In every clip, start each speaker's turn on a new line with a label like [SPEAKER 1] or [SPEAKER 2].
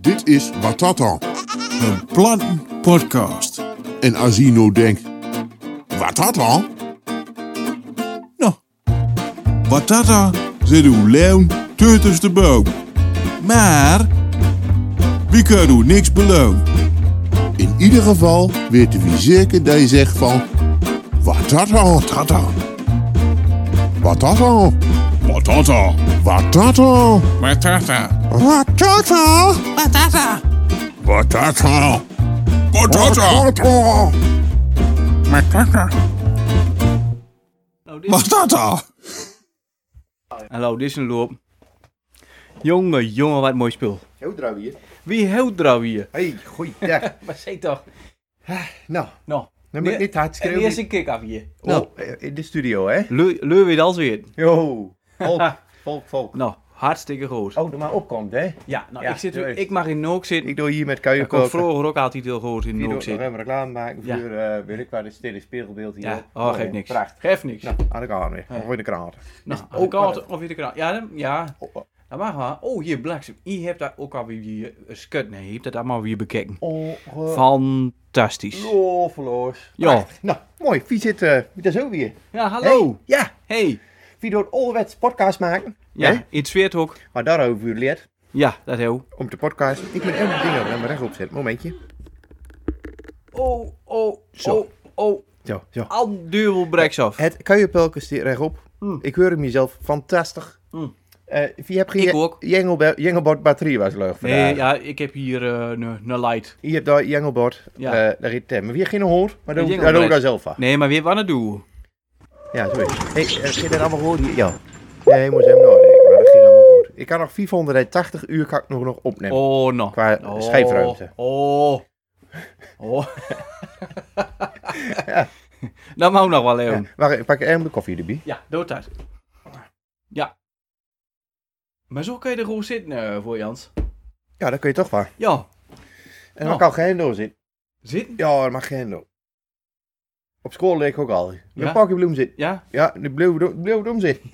[SPEAKER 1] Dit is Watata.
[SPEAKER 2] Een plantenpodcast.
[SPEAKER 1] En Asino denkt, Watata?
[SPEAKER 2] Nou, Batata zit uw leun tussen de boom. Maar, wie kan u niks beloon?
[SPEAKER 1] In ieder geval weten we zeker dat je zegt van, Watata, tata. Watata,
[SPEAKER 2] Batata.
[SPEAKER 1] watata,
[SPEAKER 2] Batata.
[SPEAKER 1] watata,
[SPEAKER 2] Batata.
[SPEAKER 1] watata,
[SPEAKER 2] Batata.
[SPEAKER 1] watata.
[SPEAKER 2] Batata.
[SPEAKER 3] Hallo, dit,
[SPEAKER 2] Batata.
[SPEAKER 3] Hallo, dit is een loop. Jongen, jongen, wat mooi spul.
[SPEAKER 4] Heel draai hier.
[SPEAKER 3] Wie houdt er hier?
[SPEAKER 4] Hey, goeiedag.
[SPEAKER 3] Maar zeg toch.
[SPEAKER 4] nou,
[SPEAKER 3] Nou,
[SPEAKER 4] dan ben ik niet hard
[SPEAKER 3] en eerst
[SPEAKER 4] schreeuwen.
[SPEAKER 3] een kick af hier. Nou,
[SPEAKER 4] Oh, eh, in de studio, hè?
[SPEAKER 3] leur weer als weer.
[SPEAKER 4] Yo. Volk, volk, volk.
[SPEAKER 3] Nou, hartstikke goed.
[SPEAKER 4] Oh, dat maar opkomt, hè?
[SPEAKER 3] Ja, nou,
[SPEAKER 4] Ja,
[SPEAKER 3] ik, zit,
[SPEAKER 4] doei.
[SPEAKER 3] ik mag in Nook zitten.
[SPEAKER 4] Ik doe hier met
[SPEAKER 3] Ik kon
[SPEAKER 4] kuienkoper.
[SPEAKER 3] vroeger ook altijd heel goed in
[SPEAKER 4] Die doet
[SPEAKER 3] Nook
[SPEAKER 4] nog
[SPEAKER 3] zitten.
[SPEAKER 4] even reclame maken
[SPEAKER 3] Ja.
[SPEAKER 4] voor, eh weet ik waar, het stille spiegelbeeld hier.
[SPEAKER 3] Ja, oh, geeft niks.
[SPEAKER 4] Prachtig.
[SPEAKER 3] Geeft niks.
[SPEAKER 4] Nou, aan de kant weer. Gooi de kraan.
[SPEAKER 3] Nou,
[SPEAKER 4] ook
[SPEAKER 3] ook al
[SPEAKER 4] wel.
[SPEAKER 3] of weer de kraan. Ja, dan- ja.
[SPEAKER 4] Oh, oh.
[SPEAKER 3] Dat mag wel. Oh, hier, Blacksem. Je hebt daar ook alweer die eh, skut. Nee, je hebt dat allemaal weer bekeken.
[SPEAKER 4] Oh.
[SPEAKER 3] Fantastisch.
[SPEAKER 4] Ongelooflijk.
[SPEAKER 3] Ja.
[SPEAKER 4] Prachtig. Nou, mooi. Wie zit eh wie is ook weer?
[SPEAKER 3] Ja, hallo.
[SPEAKER 4] Hey, ja,
[SPEAKER 3] Hey.
[SPEAKER 4] wie doet ouderwets podcast maken.
[SPEAKER 3] Ja,
[SPEAKER 4] Hè?
[SPEAKER 3] in het Zweerthok.
[SPEAKER 4] Maar daarover u leert.
[SPEAKER 3] Ja, dat heel.
[SPEAKER 4] Om te podcast. Ik ben even dingen aan mijn rechtop zetten. Momentje.
[SPEAKER 3] Oh, oh,
[SPEAKER 4] Zo.
[SPEAKER 3] oh, oh.
[SPEAKER 4] Zo, zo.
[SPEAKER 3] Al dubbel breks af.
[SPEAKER 4] Het kuienpelk is rechtop.
[SPEAKER 3] Mm.
[SPEAKER 4] Ik hoor hem mezelf fantastisch.
[SPEAKER 3] Mm.
[SPEAKER 4] Eh, wie heb
[SPEAKER 3] Ik ook.
[SPEAKER 4] geen jengelbe- jengelbord batterie was leuk vandaag.
[SPEAKER 3] Nee, ja, ik heb hier eh, een een light.
[SPEAKER 4] Je hebt daar jengelbord.
[SPEAKER 3] Ja.
[SPEAKER 4] Ja. daar heet Tem. Maar wie heeft geen hoor, maar
[SPEAKER 3] Een
[SPEAKER 4] dat doe- dat
[SPEAKER 3] jengelbord.
[SPEAKER 4] doe ik daar zelf van.
[SPEAKER 3] Nee, maar weer wat aan het doen.
[SPEAKER 4] Ja, sorry. Hey, eh, zit dat allemaal goed hier? Ja. Nee, moest hem nog. Nee, maar dat ging allemaal goed. Ik kan nog 480 uur kan ik nog, nog opnemen.
[SPEAKER 3] Oh, no.
[SPEAKER 4] Qua
[SPEAKER 3] oh,
[SPEAKER 4] schijfruimte.
[SPEAKER 3] Oh. Oh. Dat mag nog wel, Leon. Ja,
[SPEAKER 4] Ja, wacht, ik pak even de koffie erbij.
[SPEAKER 3] dood uit. Ja. Maar zo kun je er goed zitten eh, voor, Jans.
[SPEAKER 4] Ja, dat kun je toch wel.
[SPEAKER 3] Ja.
[SPEAKER 4] En
[SPEAKER 3] Nou.
[SPEAKER 4] dan kan geen door zitten.
[SPEAKER 3] Zitten?
[SPEAKER 4] Ja, dat mag geen door. Op school leek ik ook al. Met
[SPEAKER 3] Ja?
[SPEAKER 4] een pakje bloem zitten.
[SPEAKER 3] Ja?
[SPEAKER 4] Ja, de bloem bloem zitten.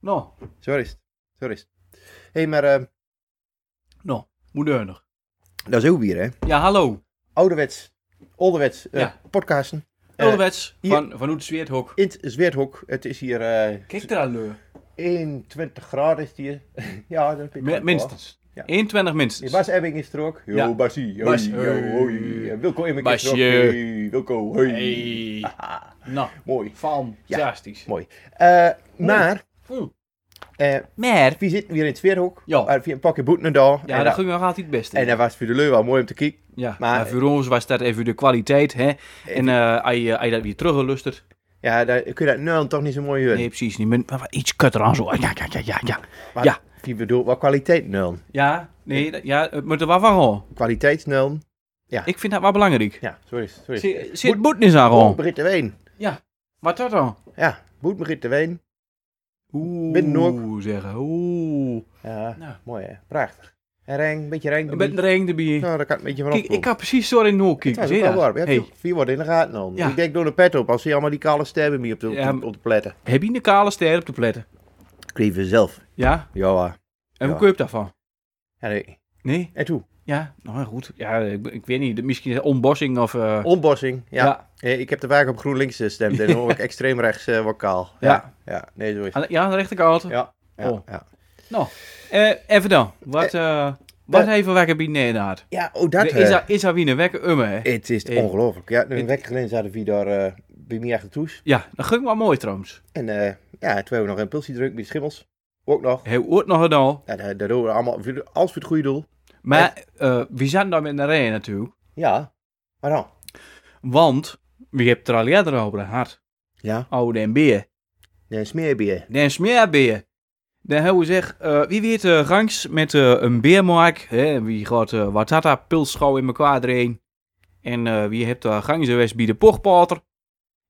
[SPEAKER 3] Nou.
[SPEAKER 4] Zo is het. Zo is het. hey, maar eh,
[SPEAKER 3] Nou. Moedernig.
[SPEAKER 4] dat is ook weer, hè?
[SPEAKER 3] Ja, hallo.
[SPEAKER 4] Ouderwets, ouderwets eh,
[SPEAKER 3] Ja.
[SPEAKER 4] podcasten. Eh,
[SPEAKER 3] Ulwets
[SPEAKER 4] hier-
[SPEAKER 3] van, van Oet Zweerthok.
[SPEAKER 4] in het Zweerthok. Het is hier eh,
[SPEAKER 3] Kijk daar, Leur.
[SPEAKER 4] 21 graden is het hier. ja, dat vind ik
[SPEAKER 3] Mi-
[SPEAKER 4] wel.
[SPEAKER 3] Minstens.
[SPEAKER 4] Ja.
[SPEAKER 3] 21 minstens.
[SPEAKER 4] Ja, Bas Ebbing is er ook. Yo,
[SPEAKER 3] Ja.
[SPEAKER 4] Basie. Yo,
[SPEAKER 3] Bas,
[SPEAKER 4] yo,
[SPEAKER 3] hey.
[SPEAKER 4] hoi. Eh, Wilco Immink is er ook.
[SPEAKER 3] Basje.
[SPEAKER 4] Hey, Wilco, hoi.
[SPEAKER 3] Hey. Nou,
[SPEAKER 4] Ah. Mooi.
[SPEAKER 3] fantastisch.
[SPEAKER 4] Mooi. Eh, maar,
[SPEAKER 3] Oeh.
[SPEAKER 4] eh,
[SPEAKER 3] Maar,
[SPEAKER 4] wie zit weer in het Zweerhok?
[SPEAKER 3] Ja.
[SPEAKER 4] Eh, via een pakje boeten daar.
[SPEAKER 3] ja,
[SPEAKER 4] en,
[SPEAKER 3] dat
[SPEAKER 4] dat-
[SPEAKER 3] ging nog altijd het beste.
[SPEAKER 4] en dat was voor de leu wel mooi om te kijken.
[SPEAKER 3] ja, maar,
[SPEAKER 4] maar-
[SPEAKER 3] voor ons was dat even de kwaliteit, hè. En eh, als je als je dat weer teruggelustert,
[SPEAKER 4] Ja, daar kun je dat nou toch niet zo mooi horen.
[SPEAKER 3] nee, precies niet. Maar maar iets kutter aan zo. Ah, Ja, ja, ja, ja, ja.
[SPEAKER 4] Maar
[SPEAKER 3] Ja.
[SPEAKER 4] Die bedoelt wel kwaliteit nul.
[SPEAKER 3] Ja, nee, dat- ja, het moet er wel van gaan.
[SPEAKER 4] kwaliteitsnul.
[SPEAKER 3] Ik vind dat wel belangrijk.
[SPEAKER 4] Ja, sorry. sorry.
[SPEAKER 3] Zit- Zit boetnis aan
[SPEAKER 4] Boet
[SPEAKER 3] gewoon.
[SPEAKER 4] Britt de Ween.
[SPEAKER 3] Wat dat dan?
[SPEAKER 4] Ja, Boet Britt de Ween.
[SPEAKER 3] Oeh,
[SPEAKER 4] Binnen ook.
[SPEAKER 3] zeggen. Oeh.
[SPEAKER 4] Ja,
[SPEAKER 3] Nou.
[SPEAKER 4] mooi hè. Prachtig. En Rijn, een beetje Rijn.
[SPEAKER 3] Ik ben er een erbij.
[SPEAKER 4] Nou, daar kan ik een beetje van
[SPEAKER 3] Kijk, ik
[SPEAKER 4] opkomen.
[SPEAKER 3] kan precies zo in Nook kijken.
[SPEAKER 4] dat
[SPEAKER 3] Zie
[SPEAKER 4] is
[SPEAKER 3] je
[SPEAKER 4] wel
[SPEAKER 3] dat?
[SPEAKER 4] warm.
[SPEAKER 3] Hey,
[SPEAKER 4] Hey. Wie wordt in de gaten dan?
[SPEAKER 3] Ja.
[SPEAKER 4] Ik denk door de pet op als je allemaal die kale sterren mee op de,
[SPEAKER 3] Ja,
[SPEAKER 4] op, de- op de pletten.
[SPEAKER 3] Heb je een kale ster op de pletten?
[SPEAKER 4] Krieven zelf.
[SPEAKER 3] Ja?
[SPEAKER 4] Ja. hoor.
[SPEAKER 3] En
[SPEAKER 4] Ja.
[SPEAKER 3] hoe kun je daarvan?
[SPEAKER 4] Ja, nee.
[SPEAKER 3] Nee?
[SPEAKER 4] En toe.
[SPEAKER 3] Ja, nou ja, goed. Ja, ik, ik weet niet. Misschien een ontbossing of... eh,
[SPEAKER 4] Ontbossing. Ja.
[SPEAKER 3] ja.
[SPEAKER 4] Eh, Ik heb te vaak op GroenLinks gestemd en dan hoor ik extreem rechts eh word kaal.
[SPEAKER 3] Ja.
[SPEAKER 4] ja. Ja. Nee, zo is het.
[SPEAKER 3] Aan de- ja, aan de rechterkant.
[SPEAKER 4] Ja. Ja.
[SPEAKER 3] Oh.
[SPEAKER 4] ja.
[SPEAKER 3] Nou, eh, even dan. Wat, eh wat
[SPEAKER 4] eh,
[SPEAKER 3] even wekken bij Nederland?
[SPEAKER 4] ja, oh dat.
[SPEAKER 3] Is
[SPEAKER 4] eh.
[SPEAKER 3] er- Is er wie een wekker umme, hè?
[SPEAKER 4] Het is
[SPEAKER 3] Eh,
[SPEAKER 4] ongelooflijk. Ja,
[SPEAKER 3] het-
[SPEAKER 4] een week geleden zaten we daar eh, bij mij achter toes.
[SPEAKER 3] Ja, dat ging wel mooi trouwens.
[SPEAKER 4] En eh, ja, toen hebben we nog een pilsie druk bij de Schimmels. Ook nog.
[SPEAKER 3] Heel ooit nog gedaan.
[SPEAKER 4] Ja, dat, dat doen we allemaal voor, alles voor het goede doel.
[SPEAKER 3] Maar eh wie zijn daar met naar rij natuurlijk?
[SPEAKER 4] Ja. Maar dan?
[SPEAKER 3] Want wie hebt er al eerder over gehad?
[SPEAKER 4] Ja.
[SPEAKER 3] Oude en beer.
[SPEAKER 4] Een smeerbeer.
[SPEAKER 3] Den smeerbeer. Dan hebben we zeg, eh, wie weet eh, gangs met eh, een beermark. Hè, wie gaat eh watata pilschouw in elkaar erin. En eh, wie hebt eh gangs geweest bij de pochpater.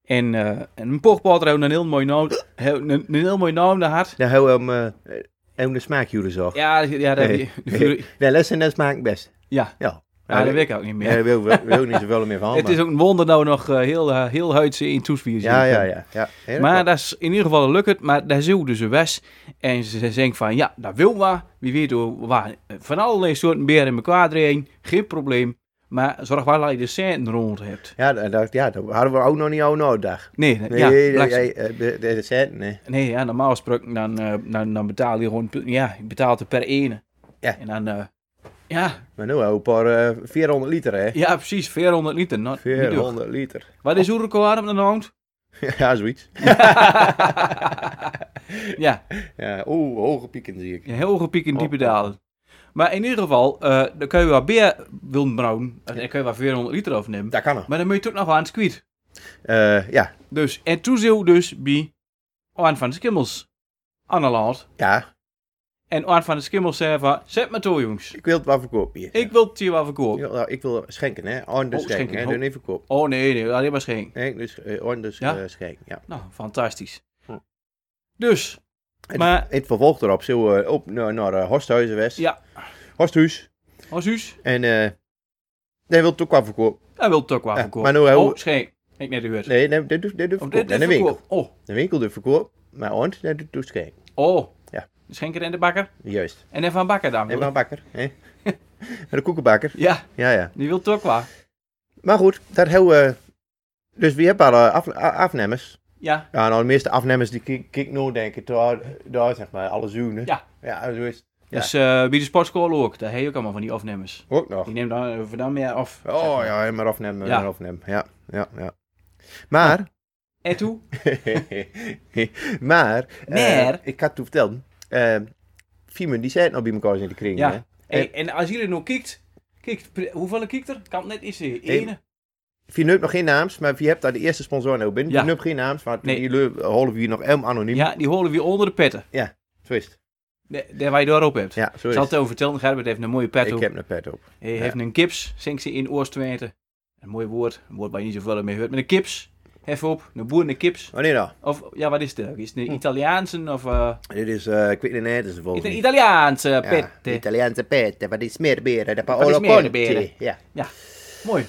[SPEAKER 3] En, eh, en een pochpater heeft een heel mooi naam. heeft Een, een heel mooi naam daar had.
[SPEAKER 4] Nou, hou hem eh, eh, hem de smaak jullie zo.
[SPEAKER 3] Ja, ja, dat,
[SPEAKER 4] Nee.
[SPEAKER 3] die- die-
[SPEAKER 4] Nee, les en de smaak best.
[SPEAKER 3] ja.
[SPEAKER 4] Ja.
[SPEAKER 3] Ja, dat weet ik ook niet meer.
[SPEAKER 4] Nee, wil, wil, wil niet zoveel meer van.
[SPEAKER 3] het is
[SPEAKER 4] maar-
[SPEAKER 3] ook een wonder nou nog eh, heel, eh, heel huidse in toesvier
[SPEAKER 4] Ja, ja, ja. ja. Heel
[SPEAKER 3] Maar
[SPEAKER 4] goed.
[SPEAKER 3] dat is, in ieder geval lukt het, maar daar zouden ze west. En ze ze denken van, ja, dat wil we. Wie weet hoe- waar. eh, Van allerlei soorten beren in elkaar heen. Geen probleem. Maar zorg wel dat je de centen rond hebt.
[SPEAKER 4] ja, dat, dat- ja, dat hadden we ook nog niet over nodig.
[SPEAKER 3] Nee, nee,
[SPEAKER 4] Nee,
[SPEAKER 3] ja,
[SPEAKER 4] nee,
[SPEAKER 3] blijkt-
[SPEAKER 4] nee, eh, de, de, de cent, nee.
[SPEAKER 3] nee, ja, normaal gesproken dan, eh, dan, dan betaal je gewoon, ja, je betaalt er per ene.
[SPEAKER 4] Ja.
[SPEAKER 3] En dan, eh, ja,
[SPEAKER 4] Maar nu ook per eh, 400 liter, hè?
[SPEAKER 3] ja, precies, 400 liter. Nou, niet duur.
[SPEAKER 4] 400 liter.
[SPEAKER 3] Wat is uw record op de hand?
[SPEAKER 4] ja, zoiets.
[SPEAKER 3] Ja,
[SPEAKER 4] Ja, Oeh, hoge pieken zie ik.
[SPEAKER 3] Een heel hoge piek en
[SPEAKER 4] Oh,
[SPEAKER 3] diepe dalen. Maar in ieder geval, eh, dan kun je wel beer wilden brouwen. Eh, Dan kun je wel 400 liter overnemen.
[SPEAKER 4] Dat kan nog.
[SPEAKER 3] Maar dan moet je toch nog wel aan het kwiet.
[SPEAKER 4] Eh, ja,
[SPEAKER 3] Dus, en toen zul je dus bij Arn van de Skimmels aan de land.
[SPEAKER 4] ja,
[SPEAKER 3] En Arn van de Skimmels zei van, zet me toe jongens.
[SPEAKER 4] ik wil het wel verkopen hier.
[SPEAKER 3] Ik wil het hier wel
[SPEAKER 4] Ik
[SPEAKER 3] verkopen.
[SPEAKER 4] wil, nou, ik wil schenken, hè? On de
[SPEAKER 3] Oh,
[SPEAKER 4] schenken,
[SPEAKER 3] schenken,
[SPEAKER 4] hè?
[SPEAKER 3] oh.
[SPEAKER 4] Doe niet verkopen.
[SPEAKER 3] Oh nee, nee, alleen maar schenk.
[SPEAKER 4] Nee, dus eh, on de
[SPEAKER 3] Ja?
[SPEAKER 4] eh, schenken, ja.
[SPEAKER 3] Nou, fantastisch.
[SPEAKER 4] Hm.
[SPEAKER 3] Dus,
[SPEAKER 4] En
[SPEAKER 3] Maar-
[SPEAKER 4] in het vervolg erop zullen we op naar, naar eh, Horsthuizen West.
[SPEAKER 3] Ja.
[SPEAKER 4] Horsthuis.
[SPEAKER 3] als huis,
[SPEAKER 4] En eh nee, wil het ook wel verkopen.
[SPEAKER 3] dan wil het ook wel
[SPEAKER 4] Ja,
[SPEAKER 3] verkopen.
[SPEAKER 4] maar nou, hoe-
[SPEAKER 3] Oh, schenk. Ik net gehoord.
[SPEAKER 4] Nee, nee, dit doet dit doet
[SPEAKER 3] Of
[SPEAKER 4] verkoop. En de winkel.
[SPEAKER 3] verkoop. Oh,
[SPEAKER 4] De winkel doet verkoop, maar ont, dat doet, doet schenken.
[SPEAKER 3] oh.
[SPEAKER 4] Ja.
[SPEAKER 3] De Schenker en de bakker.
[SPEAKER 4] Juist.
[SPEAKER 3] En even van bakker dan.
[SPEAKER 4] En van bakker, hè? En de koekenbakker.
[SPEAKER 3] Ja,
[SPEAKER 4] Ja, ja.
[SPEAKER 3] die wil het ook wel.
[SPEAKER 4] Maar goed, dat heel... eh, dus we hebben al eh, af, a- afnemers.
[SPEAKER 3] Ja,
[SPEAKER 4] Ja, nou, de meeste afnemers die kijk, kijk nou denken, daar, daar zeg maar, alles zoenen.
[SPEAKER 3] Ja.
[SPEAKER 4] Ja, zo is het. Ja.
[SPEAKER 3] Dus eh, bij de sportschool ook, daar heb je ook allemaal van die afnemers.
[SPEAKER 4] Ook nog.
[SPEAKER 3] Die neemt dan, eh, voor dan meer af. zeg
[SPEAKER 4] Oh
[SPEAKER 3] maar.
[SPEAKER 4] ja, maar afnemen,
[SPEAKER 3] Ja.
[SPEAKER 4] maar afnemen. Ja, ja, ja. Maar,
[SPEAKER 3] En toe?
[SPEAKER 4] maar, eh,
[SPEAKER 3] Maar?
[SPEAKER 4] ik had toen verteld, eh Fiemen die zei het nou bij elkaar in de kring.
[SPEAKER 3] Ja.
[SPEAKER 4] Hè?
[SPEAKER 3] Hey, en als jullie nou kijkt, kijkt pre- hoeveel kijkt er? Kan het net eens zien.
[SPEAKER 4] Eén.
[SPEAKER 3] Ene.
[SPEAKER 4] Fien heeft nog geen naams, maar wie hebt daar de eerste sponsor nou binnen?
[SPEAKER 3] Ja.
[SPEAKER 4] Ja. Fien heeft geen naams, maar
[SPEAKER 3] Nee.
[SPEAKER 4] die leu- holen we hier nog helemaal anoniem.
[SPEAKER 3] Ja, die holen weer onder de petten.
[SPEAKER 4] Zo is het.
[SPEAKER 3] Da- Daar waar je door op hebt.
[SPEAKER 4] Ja, zo
[SPEAKER 3] Ik zal
[SPEAKER 4] is
[SPEAKER 3] het
[SPEAKER 4] het.
[SPEAKER 3] over vertellen, Gerbert heeft een mooie pet
[SPEAKER 4] Ik
[SPEAKER 3] op.
[SPEAKER 4] heb een pet op.
[SPEAKER 3] Hij
[SPEAKER 4] ja.
[SPEAKER 3] heeft een kips, zingt ze in Oorstwente. Een mooi woord, een woord waar je niet zoveel mee hoort. Maar een kips, even op, een boer en een kips.
[SPEAKER 4] Oh nee nou,
[SPEAKER 3] Of, ja, wat is het? Is
[SPEAKER 4] Hm.
[SPEAKER 3] het een Italiaanse of... eh,
[SPEAKER 4] dit is, eh ik weet niet, nee, dit is het
[SPEAKER 3] is
[SPEAKER 4] volgens
[SPEAKER 3] het een
[SPEAKER 4] mij.
[SPEAKER 3] Italiaanse
[SPEAKER 4] Ja,
[SPEAKER 3] pet.
[SPEAKER 4] de Italiaanse petten, wat die smeerberen, de
[SPEAKER 3] die
[SPEAKER 4] Paolo
[SPEAKER 3] smeerberen.
[SPEAKER 4] Conti. Ja.
[SPEAKER 3] Mooi.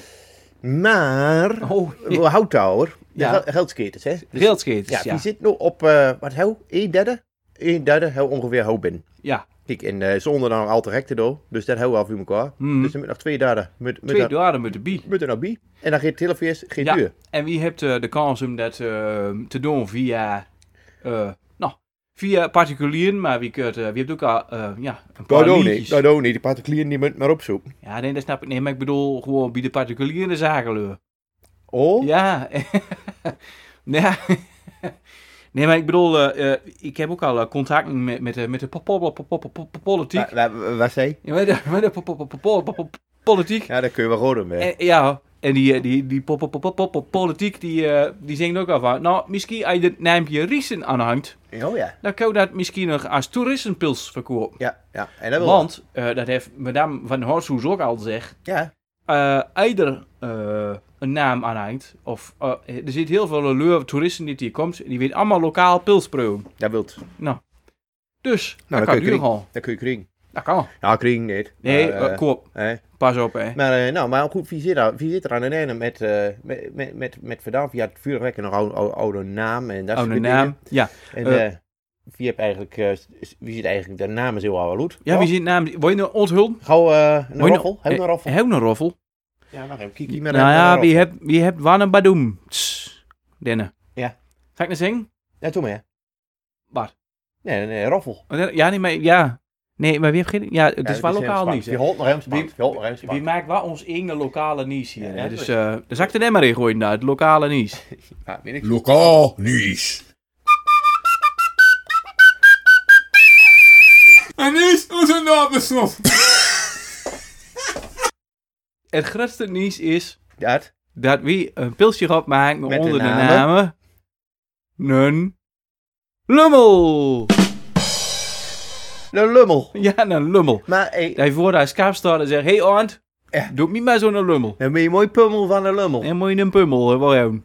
[SPEAKER 4] Maar,
[SPEAKER 3] Oh,
[SPEAKER 4] we Houthouwer, de
[SPEAKER 3] Ja.
[SPEAKER 4] gel- geldsketers, hè? Dus-
[SPEAKER 3] railskaters,
[SPEAKER 4] ja,
[SPEAKER 3] ja.
[SPEAKER 4] die zit nu op, eh, wat hou, een derde? Een derde, hou ongeveer hou binnen.
[SPEAKER 3] Ja,
[SPEAKER 4] Kijk, en eh, zonder dan al te rechter door, dus dat hou af voor elkaar.
[SPEAKER 3] Mhm.
[SPEAKER 4] Dus er moet nog twee daden, met, met,
[SPEAKER 3] twee
[SPEAKER 4] met,
[SPEAKER 3] daden met de bie.
[SPEAKER 4] met er nog bij. En dan geeft het hele feest geen
[SPEAKER 3] Ja.
[SPEAKER 4] uur.
[SPEAKER 3] En wie hebt eh, de kans om dat eh, te doen via, eh, nou, via particulieren, maar wie, kunt, eh, wie hebt ook al eh, ja, een paar
[SPEAKER 4] Dat doe
[SPEAKER 3] liedjes.
[SPEAKER 4] niet, dat doe niet. Die particulieren die moet maar opzoeken.
[SPEAKER 3] Ja, nee, dat snap ik. Nee, maar ik bedoel gewoon bij de particulieren zakenleur.
[SPEAKER 4] Oh,
[SPEAKER 3] Ja. ja. nee, maar ik bedoel, eh, eh, ik heb ook al eh, contacten met, met, de- met de po- po- po- po- po- po- po- politiek.
[SPEAKER 4] Wa- wa- wa- waar zei?
[SPEAKER 3] Ja, met de- met de po- po- po- po- po- po- politiek.
[SPEAKER 4] Ja, daar kun je wel goed om, hè.
[SPEAKER 3] En, ja, en die, eh, die, die pop, pop, pop, pop, pop- politiek, die, eh, die zingt ook al van... Nou, misschien als je het naampje Riesen aanhangt...
[SPEAKER 4] Oh ja.
[SPEAKER 3] dan kun je dat misschien nog als toeristenpils verkopen.
[SPEAKER 4] Ja, ja. En dat wil
[SPEAKER 3] Want, eh, dat heeft madame van Horshoes ook al gezegd...
[SPEAKER 4] Ja.
[SPEAKER 3] eh ieder eh, een naam aanhangt... of eh, er zit heel veel leur toeristen die hier komt... die weten allemaal lokaal pils proeven.
[SPEAKER 4] Dat wilt.
[SPEAKER 3] Dus,
[SPEAKER 4] dan
[SPEAKER 3] dat kan
[SPEAKER 4] kun je
[SPEAKER 3] duur gewoon.
[SPEAKER 4] Nou, Dat kun je kring.
[SPEAKER 3] Dat kan.
[SPEAKER 4] Ja, kring niet.
[SPEAKER 3] Nee,
[SPEAKER 4] Maar, eh,
[SPEAKER 3] eh, koop.
[SPEAKER 4] hè.
[SPEAKER 3] Pas op, hè.
[SPEAKER 4] Maar, eh, nou, maar goed, wie zit, er, wie zit er aan de ene met, eh met, met, met, met Verdamp? Ja, het vuurwerk en nog oude, oude, oude naam en dat soort
[SPEAKER 3] Oude
[SPEAKER 4] dingen.
[SPEAKER 3] Oh, naam. Ja,
[SPEAKER 4] En
[SPEAKER 3] Eh.
[SPEAKER 4] eh, wie, heb eigenlijk, eh, s- wie zit eigenlijk de naam is heel oude
[SPEAKER 3] ja wie zit naam... Wil je nou onthullen?
[SPEAKER 4] Gauw eh een
[SPEAKER 3] Hoi,
[SPEAKER 4] roffel.
[SPEAKER 3] nou-
[SPEAKER 4] Heb een roffel.
[SPEAKER 3] Heel een roffel.
[SPEAKER 4] Ja, wacht even. Kiki met
[SPEAKER 3] nou
[SPEAKER 4] een
[SPEAKER 3] ja,
[SPEAKER 4] roffel.
[SPEAKER 3] wie hebt, wie hebt Wanne Badoem? Tss, Denne.
[SPEAKER 4] Ja.
[SPEAKER 3] Ga ik nou zingen?
[SPEAKER 4] Ja, doe maar.
[SPEAKER 3] Waar?
[SPEAKER 4] Nee, nee, roffel.
[SPEAKER 3] Ja, Oh, nee, maar ja. Nee, maar wie heeft geen... Ja, het
[SPEAKER 4] Ja,
[SPEAKER 3] is wel
[SPEAKER 4] hem
[SPEAKER 3] lokaal
[SPEAKER 4] spannend.
[SPEAKER 3] nieuws. hè.
[SPEAKER 4] Die holt nog hem
[SPEAKER 3] Wie-
[SPEAKER 4] spannend. Die holt nog hem
[SPEAKER 3] Wie
[SPEAKER 4] spannend.
[SPEAKER 3] maakt wel ons ene lokale nieuws hier?
[SPEAKER 4] Ja,
[SPEAKER 3] hè?
[SPEAKER 4] dat
[SPEAKER 3] Dus
[SPEAKER 4] is-
[SPEAKER 3] eh daar zak ik er net maar in gooien, nou, het lokale nieuws.
[SPEAKER 4] Ja, weet ik veel.
[SPEAKER 1] Lokaal nieuws.
[SPEAKER 2] En is onze naam is nog.
[SPEAKER 3] Het grootste nieuws is
[SPEAKER 4] Dat.
[SPEAKER 3] dat wie een pilsje gaat maken
[SPEAKER 4] Met de
[SPEAKER 3] onder de namen...
[SPEAKER 4] namen.
[SPEAKER 3] Nun... Lummel!
[SPEAKER 4] Een lummel.
[SPEAKER 3] Ja, een lummel.
[SPEAKER 4] Maar, hey,
[SPEAKER 3] Hij voor daar schaap staat en zegt... Hé, hey, Arndt,
[SPEAKER 4] Ja.
[SPEAKER 3] doe niet maar zo'n lummel.
[SPEAKER 4] dan ben je mooi pummel van een lummel.
[SPEAKER 3] En moet je een pummel, hè, wel jou.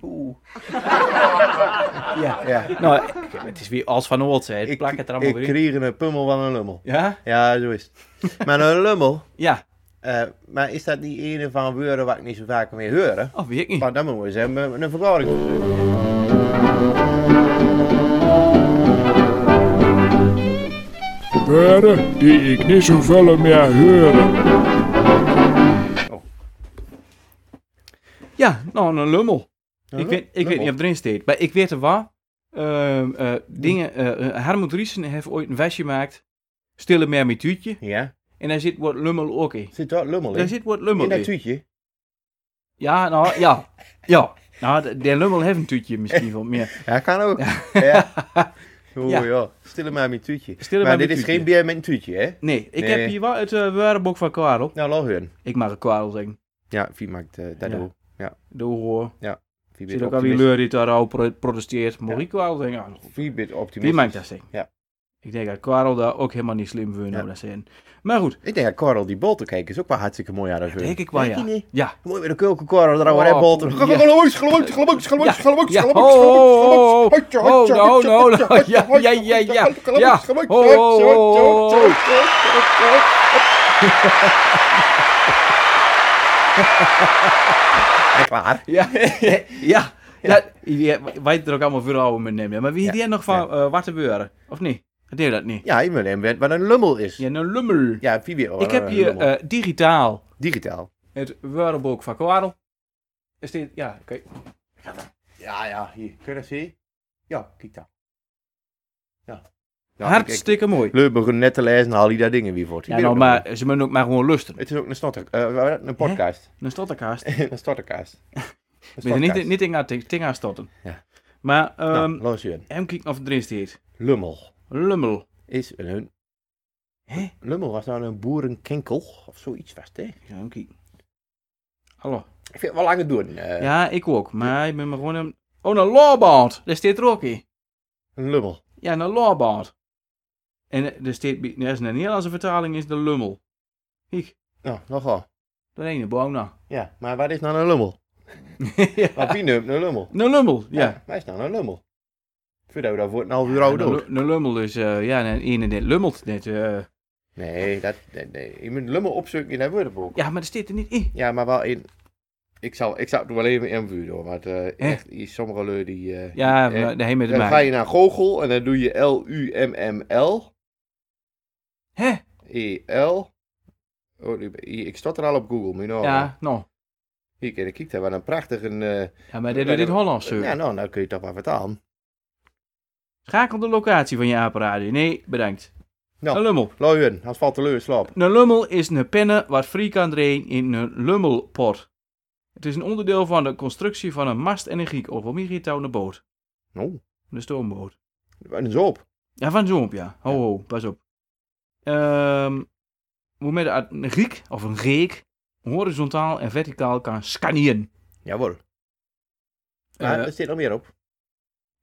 [SPEAKER 3] ja.
[SPEAKER 4] Ja.
[SPEAKER 3] Nou, ik- het is weer als van Oort, hè. Het plak het er allemaal
[SPEAKER 4] ik
[SPEAKER 3] weer in.
[SPEAKER 4] kreeg een pummel van een lummel.
[SPEAKER 3] Ja?
[SPEAKER 4] Ja, zo is het. Maar een lummel,
[SPEAKER 3] Ja.
[SPEAKER 4] Eh, maar is dat die ene van Weuren waar ik niet zo vaak mee hoor?
[SPEAKER 3] Oh, weet ik niet.
[SPEAKER 4] Maar dan moeten we eens hebben een- een verklaring voor zoeken.
[SPEAKER 5] Beren die ik niet zoveel meer horen.
[SPEAKER 3] Ja, nou, een lummel. ik weet, ik weet
[SPEAKER 4] Lummel.
[SPEAKER 3] niet of erin staat, maar ik weet er waar. Ehm, eh, dingen, eh, eh, Harmut Riesen heeft ooit een vestje gemaakt. Stille meer met tuutje.
[SPEAKER 4] Ja,
[SPEAKER 3] En daar zit wat lummel ook in.
[SPEAKER 4] zit daar lummel in?
[SPEAKER 3] Daar zit wat lummel
[SPEAKER 4] in dat
[SPEAKER 3] in.
[SPEAKER 4] tuutje?
[SPEAKER 3] Ja, nou, ja. Ja. Nou, de, de lummel heeft een tuutje misschien wel meer.
[SPEAKER 4] Ja, kan ook. Ja. Oh
[SPEAKER 3] Ja.
[SPEAKER 4] ja, stille maar met tuutje.
[SPEAKER 3] Stille
[SPEAKER 4] maar
[SPEAKER 3] maar
[SPEAKER 4] dit
[SPEAKER 3] met
[SPEAKER 4] is
[SPEAKER 3] tuutje.
[SPEAKER 4] geen bier met een tuutje, hè?
[SPEAKER 3] Nee, ik
[SPEAKER 4] Nee.
[SPEAKER 3] heb hier wel het eh woordenboek van Karel.
[SPEAKER 4] Nou, laat hun.
[SPEAKER 3] Ik mag een Karel zeggen.
[SPEAKER 4] Ja, wie maakt eh, dat
[SPEAKER 3] Ja.
[SPEAKER 4] ook?
[SPEAKER 3] Doe hoor.
[SPEAKER 4] Wie
[SPEAKER 3] Ik
[SPEAKER 4] bent
[SPEAKER 3] zit ook al die
[SPEAKER 4] optimist?
[SPEAKER 3] leur die daar al pro- protesteert. Mag ik Karel zeggen? Ah, Ja,
[SPEAKER 4] Wie bent
[SPEAKER 3] Wie
[SPEAKER 4] optimist?
[SPEAKER 3] maakt dat zeggen?
[SPEAKER 4] Ja.
[SPEAKER 3] Ik denk dat Karel daar ook helemaal niet slim voor
[SPEAKER 4] Ja.
[SPEAKER 3] ja. zijn. Maar goed,
[SPEAKER 4] Ik denk dat Karel die boter kijken is ook wel hartstikke mooi aan dat hun.
[SPEAKER 3] denk ik wel ja.
[SPEAKER 4] Mooi
[SPEAKER 3] Ja.
[SPEAKER 4] met de kulken Karel, daar houden we
[SPEAKER 3] Oh,
[SPEAKER 4] bolter.
[SPEAKER 3] ja.
[SPEAKER 4] Geloos, geloos, geloos, geloos, geloos,
[SPEAKER 3] Ja.
[SPEAKER 4] geloos,
[SPEAKER 3] Oh, oh, oh,
[SPEAKER 4] geloos,
[SPEAKER 3] oh. Oh, no, no, no. Ja, ja, ja, ja. Ja. Oh, oh, oh, oh.
[SPEAKER 4] Echt waar?
[SPEAKER 3] Ja. ja. ja. ja. Wij er ook allemaal voor oude met nemen. Maar wie
[SPEAKER 4] Ja.
[SPEAKER 3] die nog van eh wat te beuren? Of niet? Dat deed dat niet.
[SPEAKER 4] Ja, ik ben hem wat een lummel is.
[SPEAKER 3] Ja, een lummel.
[SPEAKER 4] Ja, wie weet wel
[SPEAKER 3] Ik
[SPEAKER 4] wat
[SPEAKER 3] heb
[SPEAKER 4] een
[SPEAKER 3] hier
[SPEAKER 4] lummel.
[SPEAKER 3] eh, digitaal
[SPEAKER 4] Digitaal.
[SPEAKER 3] het woordenboek van Karel. Is dit, ja, oké.
[SPEAKER 4] Ja, ja, hier. Kun je dat zien? Ja, kijk daar. Ja. ja
[SPEAKER 3] Hartstikke mooi.
[SPEAKER 4] Leuk, begon net te lezen en haal je daar dingen weer voor. Die
[SPEAKER 3] Ja,
[SPEAKER 4] weet
[SPEAKER 3] nou,
[SPEAKER 4] ik nog
[SPEAKER 3] maar
[SPEAKER 4] wel.
[SPEAKER 3] ze moeten ook maar gewoon lusten.
[SPEAKER 4] Het is ook een snotter... eh, wat was dat? een podcast.
[SPEAKER 3] Een stotterkaast.
[SPEAKER 4] een stottercast. Een
[SPEAKER 3] Met niet,
[SPEAKER 4] stottercast.
[SPEAKER 3] niet in haar ting- ting aan stotten.
[SPEAKER 4] Ja.
[SPEAKER 3] Maar,
[SPEAKER 4] Nou,
[SPEAKER 3] ehm
[SPEAKER 4] laat zien.
[SPEAKER 3] hem kijken of het erin staat.
[SPEAKER 4] Lummel
[SPEAKER 3] Lummel.
[SPEAKER 4] is een...
[SPEAKER 3] Hè?
[SPEAKER 4] Lummel was nou een boerenkinkel of zoiets vast, hè? Ik
[SPEAKER 3] Ja, hem kijken. Hallo.
[SPEAKER 4] vind het wel lang het doen. eh,
[SPEAKER 3] Ja, ik ook. Maar ik ben maar gewoon een... Oh, een lawband. Daar staat er ook in.
[SPEAKER 4] Een lummel.
[SPEAKER 3] Ja, een lawband. En eh, er staat... bij- Er is een Nederlandse vertaling, is de lummel. Kijk,
[SPEAKER 4] Nou, nogal.
[SPEAKER 3] dat ene boom nou.
[SPEAKER 4] Ja, maar wat is nou een lummel? Wat
[SPEAKER 3] ja.
[SPEAKER 4] wie noemt een lummel?
[SPEAKER 3] Een lummel, ja.
[SPEAKER 4] Wat is nou een lummel? Voordat we daarvoor een half uur oude
[SPEAKER 3] Een
[SPEAKER 4] dood.
[SPEAKER 3] lu- Een lummel is, eh, ja, een ene net lummelt net. eh.
[SPEAKER 4] Nee, dat, nee, nee. je moet lummel opzoeken in dat woordenboek.
[SPEAKER 3] ja, maar er staat er niet in.
[SPEAKER 4] Ja, maar wel in... Ik zal, ik zal het wel even invuren, hoor. Want eh
[SPEAKER 3] Hè?
[SPEAKER 4] echt, die- sommige lui die... eh,
[SPEAKER 3] Ja,
[SPEAKER 4] die- eh,
[SPEAKER 3] daar heen met het
[SPEAKER 4] dan ga
[SPEAKER 3] mij.
[SPEAKER 4] je naar Google en dan doe je L-U-M-M-L.
[SPEAKER 3] Hè?
[SPEAKER 4] E-L. E Oh, nu ben- hier, ik stond er al op Google, moet je nou.
[SPEAKER 3] Ja, nou.
[SPEAKER 4] Hier, kijk, kijk daar, wat een prachtige... eh,
[SPEAKER 3] Ja, maar dit dit is Hollands,
[SPEAKER 4] ja,
[SPEAKER 3] sir.
[SPEAKER 4] nou, nou kun je toch wel vertalen.
[SPEAKER 3] Schakel de locatie van je apparaat. Nee, bedankt.
[SPEAKER 4] Nou.
[SPEAKER 3] Een lummel.
[SPEAKER 4] Luien, als valt de leur slaap.
[SPEAKER 3] Een lummel is een penne wat vrij kan draaien in een lummelpot. Het is een onderdeel van de constructie van een mast en een giek of een miergetouwne boot.
[SPEAKER 4] Nou,
[SPEAKER 3] Een stoomboot.
[SPEAKER 4] wat een zoop.
[SPEAKER 3] Ja, van zo'n ja. Ho, ho, pas op. Ehm, hoe met een- een giek of een reek horizontaal en verticaal kan scanneren.
[SPEAKER 4] Jawel. Maar
[SPEAKER 3] Eh,
[SPEAKER 4] er zit nog meer op.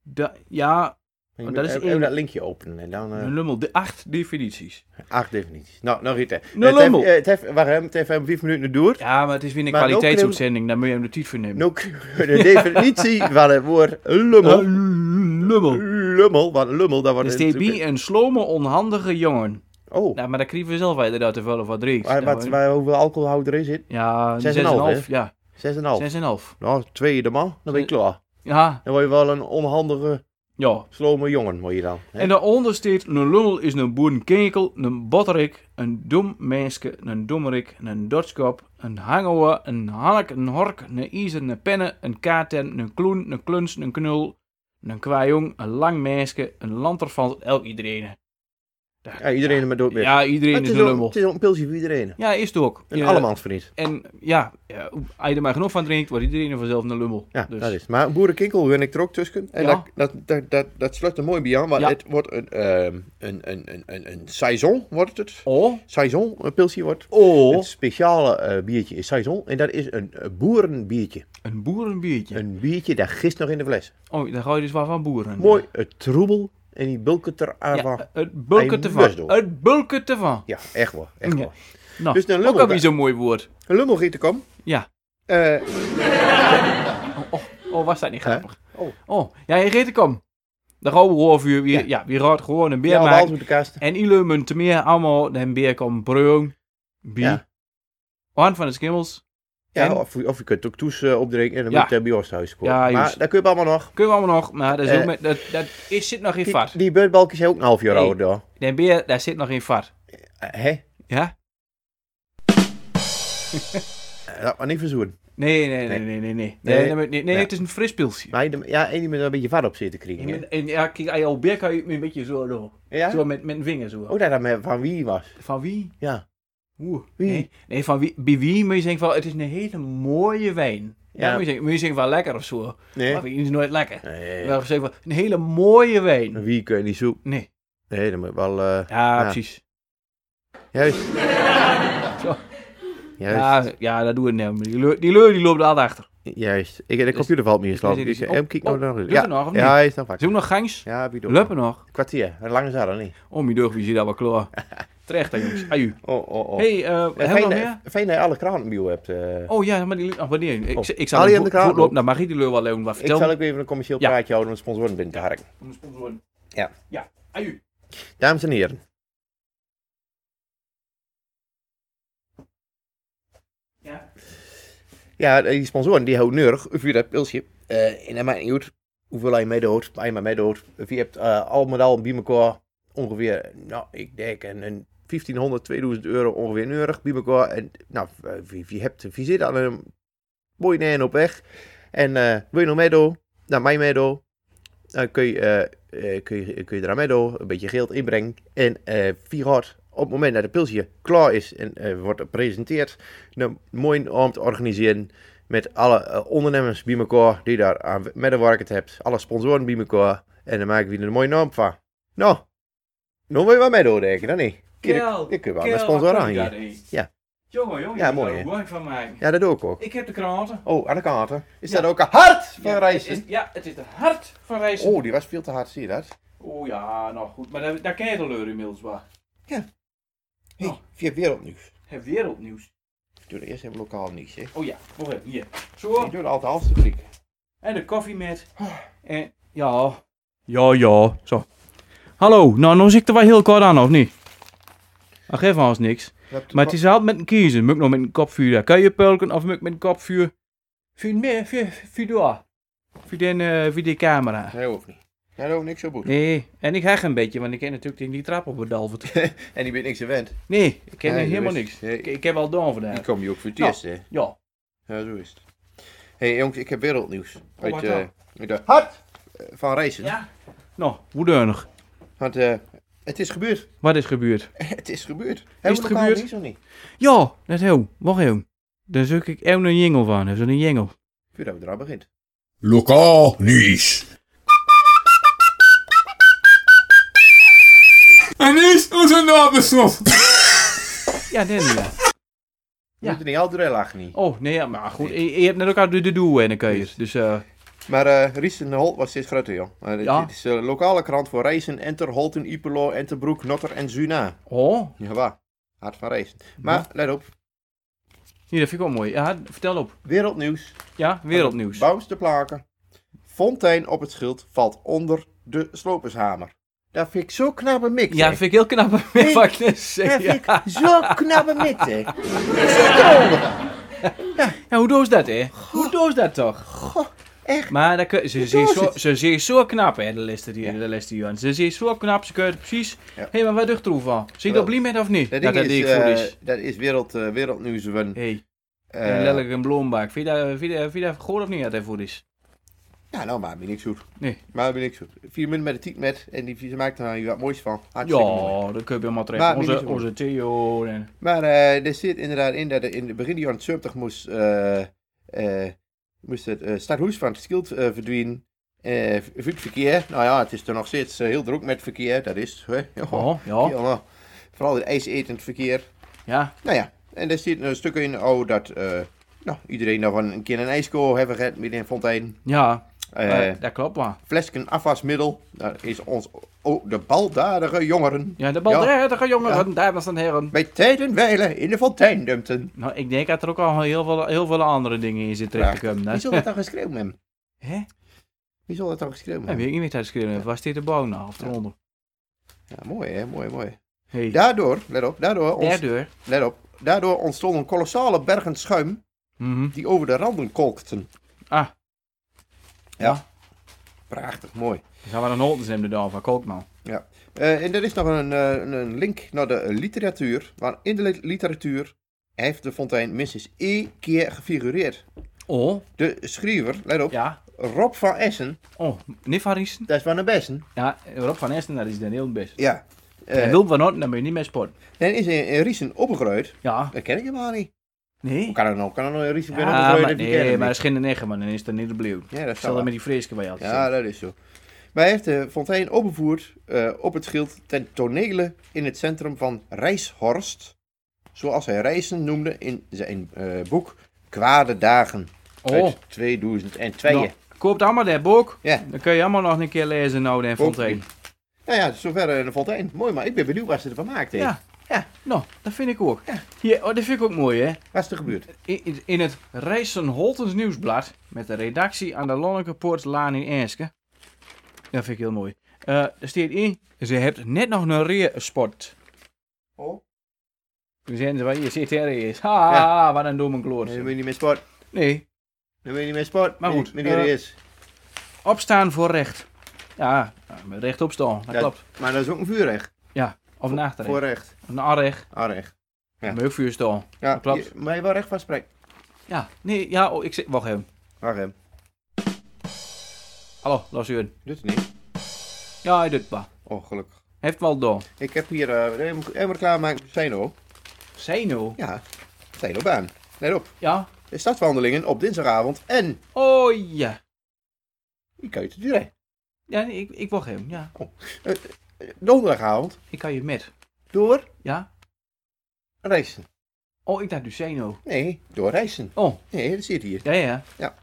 [SPEAKER 3] da- ja,
[SPEAKER 4] Je
[SPEAKER 3] Oh,
[SPEAKER 4] moet
[SPEAKER 3] dat is
[SPEAKER 4] even,
[SPEAKER 3] één.
[SPEAKER 4] even dat linkje openen en dan... eh,
[SPEAKER 3] een lummel. De acht definities.
[SPEAKER 4] acht definities. Nou, nog iets. hè.
[SPEAKER 3] Nou,
[SPEAKER 4] het heeft,
[SPEAKER 3] lummel.
[SPEAKER 4] eh, het heeft, wacht, hè, het heeft even vijf minuten door.
[SPEAKER 3] Ja, maar het is weer een
[SPEAKER 4] Maar ook een-
[SPEAKER 3] kwaliteitsuitzending. Daar moet je hem de tijd voor nemen.
[SPEAKER 4] Nu kunnen we Nou, de definitie van het woord lummel.
[SPEAKER 3] Eh, Een lummel.
[SPEAKER 4] Lummel, want lummel, dat
[SPEAKER 3] De
[SPEAKER 4] wordt...
[SPEAKER 3] STB, een slome, onhandige jongen.
[SPEAKER 4] Oh,
[SPEAKER 3] Dus Nou, maar daar krieven we zelf uit dat te vullen van drinks.
[SPEAKER 4] waar, wat, waar, hoeveel alcoholhoud erin zit?
[SPEAKER 3] Nou, Ja, 6,5.
[SPEAKER 4] 6,5,
[SPEAKER 3] Ja,
[SPEAKER 4] 6,5.
[SPEAKER 3] 6,5.
[SPEAKER 4] Nou, tweede man, dan ben je klaar.
[SPEAKER 3] Ja,
[SPEAKER 4] Dan word je wel een onhandige,
[SPEAKER 3] ja.
[SPEAKER 4] slome jongen, word je dan. Hè?
[SPEAKER 3] En daaronder staat een lummel is een boerenkekel, een botterik, een dom mensje, een dommerik, een dotskop, een hangover, een hannek, een hork, een ijzer, een penne, een kaarten, een kloen, een kluns, een knul, een kwajong, een lang mensje, een lanterfant, elk iedereen.
[SPEAKER 4] Ja, iedereen met dood mee.
[SPEAKER 3] Ja, iedereen
[SPEAKER 4] het,
[SPEAKER 3] is
[SPEAKER 4] is
[SPEAKER 3] een
[SPEAKER 4] ook,
[SPEAKER 3] lummel.
[SPEAKER 4] het is ook een pilsje voor iedereen.
[SPEAKER 3] Ja, is het ook.
[SPEAKER 4] Een
[SPEAKER 3] Ja,
[SPEAKER 4] allemansvriend.
[SPEAKER 3] En ja, ja, als je er maar genoeg van drinkt, wordt iedereen er vanzelf een lummel.
[SPEAKER 4] Ja,
[SPEAKER 3] Dus-
[SPEAKER 4] dat is. Maar boerenkinkel ben ik er ook tussen. En
[SPEAKER 3] Ja.
[SPEAKER 4] dat, dat, dat, dat, dat sluit er mooi bij aan, want
[SPEAKER 3] Ja.
[SPEAKER 4] het wordt een, ehm een, een, een, een, een saison, wordt het.
[SPEAKER 3] Oh,
[SPEAKER 4] Saison, een pilsje wordt.
[SPEAKER 3] oh.
[SPEAKER 4] Het speciale eh, biertje is saison en dat is een eh, boerenbiertje.
[SPEAKER 3] Een boerenbiertje.
[SPEAKER 4] Een biertje dat gist nog in de fles.
[SPEAKER 3] Oh, daar ga je dus wel van boeren.
[SPEAKER 4] Mooi, het troebel en die bulket er aan van.
[SPEAKER 3] Ja, het bulken
[SPEAKER 4] Hij
[SPEAKER 3] ervan.
[SPEAKER 4] must door.
[SPEAKER 3] Het bulken ervan.
[SPEAKER 4] Ja, echt wel, echt
[SPEAKER 3] Ja.
[SPEAKER 4] wel.
[SPEAKER 3] Nou,
[SPEAKER 4] Dus een
[SPEAKER 3] ook
[SPEAKER 4] lummel-
[SPEAKER 3] alweer zo'n mooi woord.
[SPEAKER 4] Een lummelgiet te komen.
[SPEAKER 3] Ja.
[SPEAKER 4] Eh,
[SPEAKER 3] Oh, was dat niet grappig?
[SPEAKER 4] Oh.
[SPEAKER 3] Oh, ja, je reed er kom. De rauwe roofvuur, wie, ja.
[SPEAKER 4] Ja.
[SPEAKER 3] wie raadt gewoon een beer
[SPEAKER 4] ja,
[SPEAKER 3] maken.
[SPEAKER 4] Wals met de kast.
[SPEAKER 3] En iedereen moet meer allemaal een beer komen brengen. Bier.
[SPEAKER 4] Ja.
[SPEAKER 3] Aan van de skimmels.
[SPEAKER 4] Ja,
[SPEAKER 3] En?
[SPEAKER 4] of, of je kunt ook toes eh, opdrinken en dan
[SPEAKER 3] Ja.
[SPEAKER 4] moet je bij ons thuis komen.
[SPEAKER 3] Ja,
[SPEAKER 4] maar
[SPEAKER 3] juist.
[SPEAKER 4] dat kun je allemaal nog.
[SPEAKER 3] Kunnen we allemaal nog, maar dat, is
[SPEAKER 4] Eh,
[SPEAKER 3] ook met, dat, dat is, zit nog in
[SPEAKER 4] Die,
[SPEAKER 3] vat.
[SPEAKER 4] die beurtbalkjes zijn ook een half jaar
[SPEAKER 3] Nee.
[SPEAKER 4] oud. hoor.
[SPEAKER 3] Den beer, daar zit nog in vat.
[SPEAKER 4] Eh, Hè?
[SPEAKER 3] Ja?
[SPEAKER 4] Eh, Dat maar niet verzoen.
[SPEAKER 3] Nee, nee, nee,
[SPEAKER 4] Nee.
[SPEAKER 3] nee, nee. Nee,
[SPEAKER 4] Nee.
[SPEAKER 3] nee, nee, nee, nee,
[SPEAKER 4] Ja.
[SPEAKER 3] het is een fris pilsje.
[SPEAKER 4] Maar je- ja, één die met een beetje vat op zitten krijgen. hè?
[SPEAKER 3] En, en ja, kijk, als je al beer kan je een beetje zo doen.
[SPEAKER 4] Ja? Oh,
[SPEAKER 3] Zo met, met een vinger zo.
[SPEAKER 4] Ook dat dat met- van wie was.
[SPEAKER 3] Van wie?
[SPEAKER 4] Ja.
[SPEAKER 3] Oeh.
[SPEAKER 4] Wie?
[SPEAKER 3] Nee, nee, van wie? Bij wie moet je zeggen van, het is een hele mooie wijn. Ja.
[SPEAKER 4] Ja.
[SPEAKER 3] moet, je zeggen, moet je zeggen van lekker of zo.
[SPEAKER 4] Nee.
[SPEAKER 3] Maar wijn is nooit lekker.
[SPEAKER 4] Nee.
[SPEAKER 3] Wel gezegd van, een hele mooie wijn.
[SPEAKER 4] Wie kun je niet zoeken?
[SPEAKER 3] Nee.
[SPEAKER 4] Nee, dan moet je wel... eh,
[SPEAKER 3] Ja,
[SPEAKER 4] Ja.
[SPEAKER 3] precies.
[SPEAKER 4] Juist.
[SPEAKER 3] Zo.
[SPEAKER 4] Juist.
[SPEAKER 3] Ja, ja, dat doen we niet. Die leur, die, leur, die loopt er altijd achter.
[SPEAKER 4] Juist. Ik, de computer valt me in slaap.
[SPEAKER 3] Dus-
[SPEAKER 4] Dus,
[SPEAKER 3] dus-
[SPEAKER 4] eh, kijk nou
[SPEAKER 3] oh,
[SPEAKER 4] naar-
[SPEAKER 3] doet
[SPEAKER 4] ja.
[SPEAKER 3] het nog, of niet?
[SPEAKER 4] Ja, hij is nog
[SPEAKER 3] Is ook
[SPEAKER 4] wakker.
[SPEAKER 3] nog gangs?
[SPEAKER 4] Ja, wie doet
[SPEAKER 3] Luppen nog?
[SPEAKER 4] Kwartier. Een lange zaal, niet?
[SPEAKER 3] Oh, mijn deugd, wie zit daar wel klaar? Terecht, hè, jongens. Aju.
[SPEAKER 4] Oh, oh, oh.
[SPEAKER 3] Hey, eh hebben we
[SPEAKER 4] fijn,
[SPEAKER 3] nog
[SPEAKER 4] dat-
[SPEAKER 3] meer?
[SPEAKER 4] fijn dat je alle kranten bij je hebt. eh.
[SPEAKER 3] Oh ja, maar die ligt nog wat neer. Ik,
[SPEAKER 4] Oh.
[SPEAKER 3] ik
[SPEAKER 4] Haal
[SPEAKER 3] zal
[SPEAKER 4] die
[SPEAKER 3] hem vo-
[SPEAKER 4] aan de kraan
[SPEAKER 3] voortlopen.
[SPEAKER 4] lopen.
[SPEAKER 3] Dan Nou, mag ik die leur wel even wat
[SPEAKER 4] ik zal
[SPEAKER 3] vertellen.
[SPEAKER 4] ook even een commercieel
[SPEAKER 3] Ja.
[SPEAKER 4] praatje houden om de sponsoren binnen te harken.
[SPEAKER 3] Om de sponsoren.
[SPEAKER 4] Ja.
[SPEAKER 3] Ja, aju.
[SPEAKER 4] Dames en heren.
[SPEAKER 3] Ja.
[SPEAKER 4] Ja, eh, die sponsoren die houden neurig via dat pilsje. Eh, en dat maakt niet uit hoeveel hij meedoet. Hij maar meedoet. Of Je hebt eh, al met al bij elkaar ongeveer, nou ik denk een, een 1500, 2000 euro ongeveer neurig bij elkaar. En nou, eh, wie, wie, hebt, wie zit aan een mooi neen op weg. En eh, wil je nog meedoen? Naar mij meedoen. Dan kun je, eh, eh, kun, je, kun je eraan meedoen, een beetje geld inbrengen. En eh vier hard, op het moment dat de pilsje klaar is en eh, wordt gepresenteerd, een mooi avond organiseren met alle eh, ondernemers bij elkaar die daar aan medewerkend hebt. Alle sponsoren bij elkaar. En dan maken we er een mooie naam van. Nou, nog wil je wat meedoen, denk ik, dan niet? Kijk,
[SPEAKER 3] Kel,
[SPEAKER 4] ik kun wel
[SPEAKER 3] Kel,
[SPEAKER 4] een sponsor
[SPEAKER 3] wat
[SPEAKER 4] aan
[SPEAKER 3] kun je
[SPEAKER 4] hier.
[SPEAKER 3] daar, hé?
[SPEAKER 4] Ja.
[SPEAKER 3] Jongen, jongen.
[SPEAKER 4] Ja,
[SPEAKER 3] ik
[SPEAKER 4] mooi,
[SPEAKER 3] zou er
[SPEAKER 4] hè?
[SPEAKER 3] mooi van maken.
[SPEAKER 4] Ja, dat doe ik ook.
[SPEAKER 3] Ik heb de kranen.
[SPEAKER 4] Oh, aan de kant, hè? Is
[SPEAKER 3] Ja.
[SPEAKER 4] dat ook een hart van
[SPEAKER 3] Ja,
[SPEAKER 4] reizen?
[SPEAKER 3] het is- Ja, het is de hart van reizen.
[SPEAKER 4] Oh, die was veel te hard, zie je dat?
[SPEAKER 3] Oh ja, nou goed. Maar daar, daar ken je de leur inmiddels wel.
[SPEAKER 4] Hé,
[SPEAKER 3] Oh.
[SPEAKER 4] via wereldnieuws.
[SPEAKER 3] Het wereldnieuws.
[SPEAKER 4] Ik doe er eerst even lokaal nieuws, hè?
[SPEAKER 3] Oh ja, wacht even. Hier.
[SPEAKER 4] Ik
[SPEAKER 3] Zo.
[SPEAKER 4] doe het altijd half te kriek.
[SPEAKER 3] En de koffie met.
[SPEAKER 4] Ah.
[SPEAKER 3] En ja. Ja, ja. Zo. Hallo, nou, nou zit er wel heel kort aan, of niet? Ach, geef ons niks. Maar het is altijd met een kiezen. Moet ik nog met een kopvuur daar kan je pulken of moet ik met een kopvuur? Vuur meer, vuur, vuur door. Vuur den, eh, vuur die camera.
[SPEAKER 4] Nee, hoeft niet. Jij doet niks zo goed.
[SPEAKER 3] Nee, en ik heg een beetje, want ik ken natuurlijk tegen die trap op bedalverd.
[SPEAKER 4] En die bent niks gewend.
[SPEAKER 3] Nee, ik ken
[SPEAKER 4] Nee,
[SPEAKER 3] helemaal
[SPEAKER 4] dat is-
[SPEAKER 3] niks.
[SPEAKER 4] nee.
[SPEAKER 3] Ik, ik heb al gedaan
[SPEAKER 4] Die
[SPEAKER 3] vandaag.
[SPEAKER 4] kom je ook voor het
[SPEAKER 3] Nou.
[SPEAKER 4] eerst, hè?
[SPEAKER 3] Ja.
[SPEAKER 4] Ja, zo is het. Hé, jongens, ik heb wereldnieuws. Uit,
[SPEAKER 3] Oh, wat
[SPEAKER 4] eh,
[SPEAKER 3] dan?
[SPEAKER 4] uit de hart eh, van reizen.
[SPEAKER 3] Nou, woedeunig.
[SPEAKER 4] Want eh, het is gebeurd.
[SPEAKER 3] Wat is gebeurd?
[SPEAKER 4] het is gebeurd. Hebben
[SPEAKER 3] het
[SPEAKER 4] we
[SPEAKER 3] gebeurd?
[SPEAKER 4] Niet, of niet?
[SPEAKER 3] Ja, dat heel. Wacht even. Daar zoek ik even een jingle van. Dat is een jingle.
[SPEAKER 4] Voordat we eraan begint.
[SPEAKER 1] Lokaal nieuws.
[SPEAKER 2] Anis, onze nabeslot.
[SPEAKER 3] Ja, dat is het.
[SPEAKER 4] Je moet er niet altijd heel lachen, niet.
[SPEAKER 3] Oh, nee, ja, maar goed. Je, je hebt net ook al de, de doel en dan kun je.
[SPEAKER 4] Juist.
[SPEAKER 3] Dus, eh
[SPEAKER 4] Maar eh Riesen Holt was steeds groter, joh. Maar dit-
[SPEAKER 3] Ja.
[SPEAKER 4] Dit is eh, de lokale krant voor Reizen, Enter, Holten, Ipelo, Enterbroek, Notter en Zuna.
[SPEAKER 3] oh.
[SPEAKER 4] Ja, waar? Hart van Reizen. Maar, let op.
[SPEAKER 3] Hier, dat vind ik ook mooi. Ja, vertel op.
[SPEAKER 4] Wereldnieuws.
[SPEAKER 3] Ja, wereldnieuws.
[SPEAKER 4] Bounce te plaken. Fontein op het schild valt onder de slopershamer. Dat vind ik zo knappe mix,
[SPEAKER 3] Ja,
[SPEAKER 4] hè.
[SPEAKER 3] dat vind ik heel knap.
[SPEAKER 4] Nee.
[SPEAKER 3] Wat ik net zei.
[SPEAKER 4] Dat vind
[SPEAKER 3] Ja.
[SPEAKER 4] ik zo knappe mix, hè. Dat zit eronder.
[SPEAKER 3] Ja, hoe doe ze dat, hè? Hoe doe ze dat toch?
[SPEAKER 4] echt.
[SPEAKER 3] Maar dat kun, ze,
[SPEAKER 4] Hoe
[SPEAKER 3] ze,
[SPEAKER 4] doen
[SPEAKER 3] is
[SPEAKER 4] ze
[SPEAKER 3] zo,
[SPEAKER 4] het?
[SPEAKER 3] ze, ze is zo knap, hè, de liste die,
[SPEAKER 4] Ja.
[SPEAKER 3] de liste die aan. Ze is zo knap, ze kunnen het precies. Hé,
[SPEAKER 4] Ja.
[SPEAKER 3] hey, maar wat doet er van? Zie je op Liemet of niet?
[SPEAKER 4] Dat,
[SPEAKER 3] dat
[SPEAKER 4] ding
[SPEAKER 3] dat
[SPEAKER 4] is,
[SPEAKER 3] ik goed
[SPEAKER 4] eh,
[SPEAKER 3] is.
[SPEAKER 4] dat is wereld, eh, wereldnieuws. van,
[SPEAKER 3] Hé, hey,
[SPEAKER 4] eh,
[SPEAKER 3] lelijk een bloembak. Vind je dat- vind je dat- vind je dat goed of niet dat hij goed is?
[SPEAKER 4] ja, nou, maar ben ik zoet.
[SPEAKER 3] Nee.
[SPEAKER 4] Maar ben ik zoet. Vier minuten met de tiet met en die ze maakt er nou wat moois van. Hartstikke mooi.
[SPEAKER 3] Ja, dat kun je helemaal terecht.
[SPEAKER 4] Maar niet
[SPEAKER 3] Onze,
[SPEAKER 4] zo goed.
[SPEAKER 3] onze Theo en...
[SPEAKER 4] Maar eh, er zit inderdaad in dat er in het begin jaren 70 moest, eh, eh, moest het eh, stadhuis van het schild eh, verdwijnen. Eh, v- voor het verkeer. Nou ja, het is er nog steeds eh, heel druk met verkeer. Dat is het, hè. Ja.
[SPEAKER 3] Oh, ja,
[SPEAKER 4] Ja. Vooral het ijsetend verkeer.
[SPEAKER 3] ja.
[SPEAKER 4] Nou ja, en daar zit een stuk in oh, dat eh, nou, iedereen daarvan een keer een ijskool hebben gehad midden in Fontein.
[SPEAKER 3] Ja,
[SPEAKER 4] Eh,
[SPEAKER 3] eh, dat klopt maar.
[SPEAKER 4] Flesken afwasmiddel. Dat is ons, oh, de baldadige jongeren.
[SPEAKER 3] Ja, de balderige jongeren, dames en heren.
[SPEAKER 4] Bij tijden wijlen in de fontein dumpten.
[SPEAKER 3] Nou, ik denk dat er ook al heel veel, heel veel andere dingen in zitten terecht te komen.
[SPEAKER 4] Wie
[SPEAKER 3] hè.
[SPEAKER 4] zal dat dan geschreven hebben?
[SPEAKER 3] Hè?
[SPEAKER 4] Wie zal dat dan geschreven
[SPEAKER 3] Dat
[SPEAKER 4] hebben?
[SPEAKER 3] weet ik niet meer tijdens kunnen. Was dit de bouw nou, of eronder?
[SPEAKER 4] Ja, mooi hè, mooi, mooi.
[SPEAKER 3] Hé, hey,
[SPEAKER 4] Daardoor, let op, daardoor, ons,
[SPEAKER 3] derde deur.
[SPEAKER 4] let op, Daardoor ontstonden kolossale bergen schuim
[SPEAKER 3] Mhm.
[SPEAKER 4] die over de randen kolkten.
[SPEAKER 3] Ah,
[SPEAKER 4] Ja. Prachtig, mooi.
[SPEAKER 3] dan gaan we naar Holtens nemen dan van Koopman.
[SPEAKER 4] Ja. Eh, en er is nog een, eh, een- een link naar de literatuur. Maar in de li- literatuur heeft de fontein minstens één keer gefigureerd.
[SPEAKER 3] Oh,
[SPEAKER 4] De schrijver, let op,
[SPEAKER 3] ja.
[SPEAKER 4] Rob van Essen,
[SPEAKER 3] Oh, niet van Riesen.
[SPEAKER 4] dat is van de besten.
[SPEAKER 3] Ja, Rob van Essen, dat is dan heel best.
[SPEAKER 4] Ja.
[SPEAKER 3] En
[SPEAKER 4] Eh
[SPEAKER 3] Wilm van Noorden, dan ben je niet meer sport.
[SPEAKER 4] en is in, in Riesen opgegroeid.
[SPEAKER 3] Ja,
[SPEAKER 4] Dat ken ik helemaal niet.
[SPEAKER 3] nee.
[SPEAKER 4] Hoe kan dat nou? Kan er nou in Riesen
[SPEAKER 3] Ja,
[SPEAKER 4] ben opgegroeid?
[SPEAKER 3] maar,
[SPEAKER 4] dat ken ik
[SPEAKER 3] nee,
[SPEAKER 4] niet.
[SPEAKER 3] maar dat is geen negen, man. Dan is dat niet de blauw.
[SPEAKER 4] Ja,
[SPEAKER 3] Stel
[SPEAKER 4] dat zou
[SPEAKER 3] dat met die frisken bij jou.
[SPEAKER 4] Ja, dat is zo. Maar hij heeft de fontein opgevoerd eh, op het schild ten tonele in het centrum van Rijshorst. Zoals hij Rijsen noemde in zijn eh, boek Kwade Dagen
[SPEAKER 3] Oh,
[SPEAKER 4] uit 2002.
[SPEAKER 3] nou, koop allemaal dat boek.
[SPEAKER 4] Ja.
[SPEAKER 3] Dan kun je allemaal nog een keer lezen, nou, den Fontaine.
[SPEAKER 4] Nou ja, zover eh, de fontein. Mooi, maar ik ben benieuwd wat ze ervan maakt heeft.
[SPEAKER 3] Ja.
[SPEAKER 4] Ja.
[SPEAKER 3] Nou, dat vind ik ook. Hier, oh, dat vind ik ook mooi, hè.
[SPEAKER 4] Wat is er gebeurd?
[SPEAKER 3] In- In, in het Rijssen-Holtens Nieuwsblad, met de redactie aan de Lonnekepoortlaan in Enske. Dat vind ik heel mooi. Eh er staat in, ze hebt net nog een reersport.
[SPEAKER 4] Oh.
[SPEAKER 3] Toen zeiden ze, je zit er eens. Ha,
[SPEAKER 4] Ja.
[SPEAKER 3] wat een domme kloot.
[SPEAKER 4] Nee, dan ben je niet meer sport.
[SPEAKER 3] Nee,
[SPEAKER 4] Dan ben je niet meer sport.
[SPEAKER 3] Maar goed,
[SPEAKER 4] Meneer
[SPEAKER 3] eh,
[SPEAKER 4] is.
[SPEAKER 3] opstaan voor recht. Ja, met recht opstaan, dat
[SPEAKER 4] Ja.
[SPEAKER 3] klopt.
[SPEAKER 4] Maar dat is ook een vuurrecht.
[SPEAKER 3] Ja, of een achterrecht.
[SPEAKER 4] Voorrecht.
[SPEAKER 3] Een aanrecht,
[SPEAKER 4] Aanrecht. Ja.
[SPEAKER 3] een heukvuur staan.
[SPEAKER 4] Ja,
[SPEAKER 3] Dat klopt.
[SPEAKER 4] je- maar je wel recht van spreken.
[SPEAKER 3] Ja, nee, ja, oh, ik zeg, wacht even.
[SPEAKER 4] Wacht even.
[SPEAKER 3] Hallo, Lars Uren.
[SPEAKER 4] Doet het niet.
[SPEAKER 3] Ja, hij doet wel.
[SPEAKER 4] Oh, gelukkig.
[SPEAKER 3] Heeft wel door.
[SPEAKER 4] Ik heb hier eh helemaal- helemaal klaarmaken. Zijn ook.
[SPEAKER 3] Zij nou?
[SPEAKER 4] Ja, zijn op aan. Let op,
[SPEAKER 3] Ja.
[SPEAKER 4] de stadswandelingen op dinsdagavond en
[SPEAKER 3] Oh ja.
[SPEAKER 4] je kunt het direct.
[SPEAKER 3] Ja, nee, ik, ik wacht even. Ja,
[SPEAKER 4] Eh, Donderdagavond
[SPEAKER 3] ik kan je met.
[SPEAKER 4] door
[SPEAKER 3] Ja?
[SPEAKER 4] Rijssen.
[SPEAKER 3] Oh, ik dacht Duceno.
[SPEAKER 4] Nee, door Rijssen.
[SPEAKER 3] Oh,
[SPEAKER 4] Nee, dat zit hier.
[SPEAKER 3] ja, ja.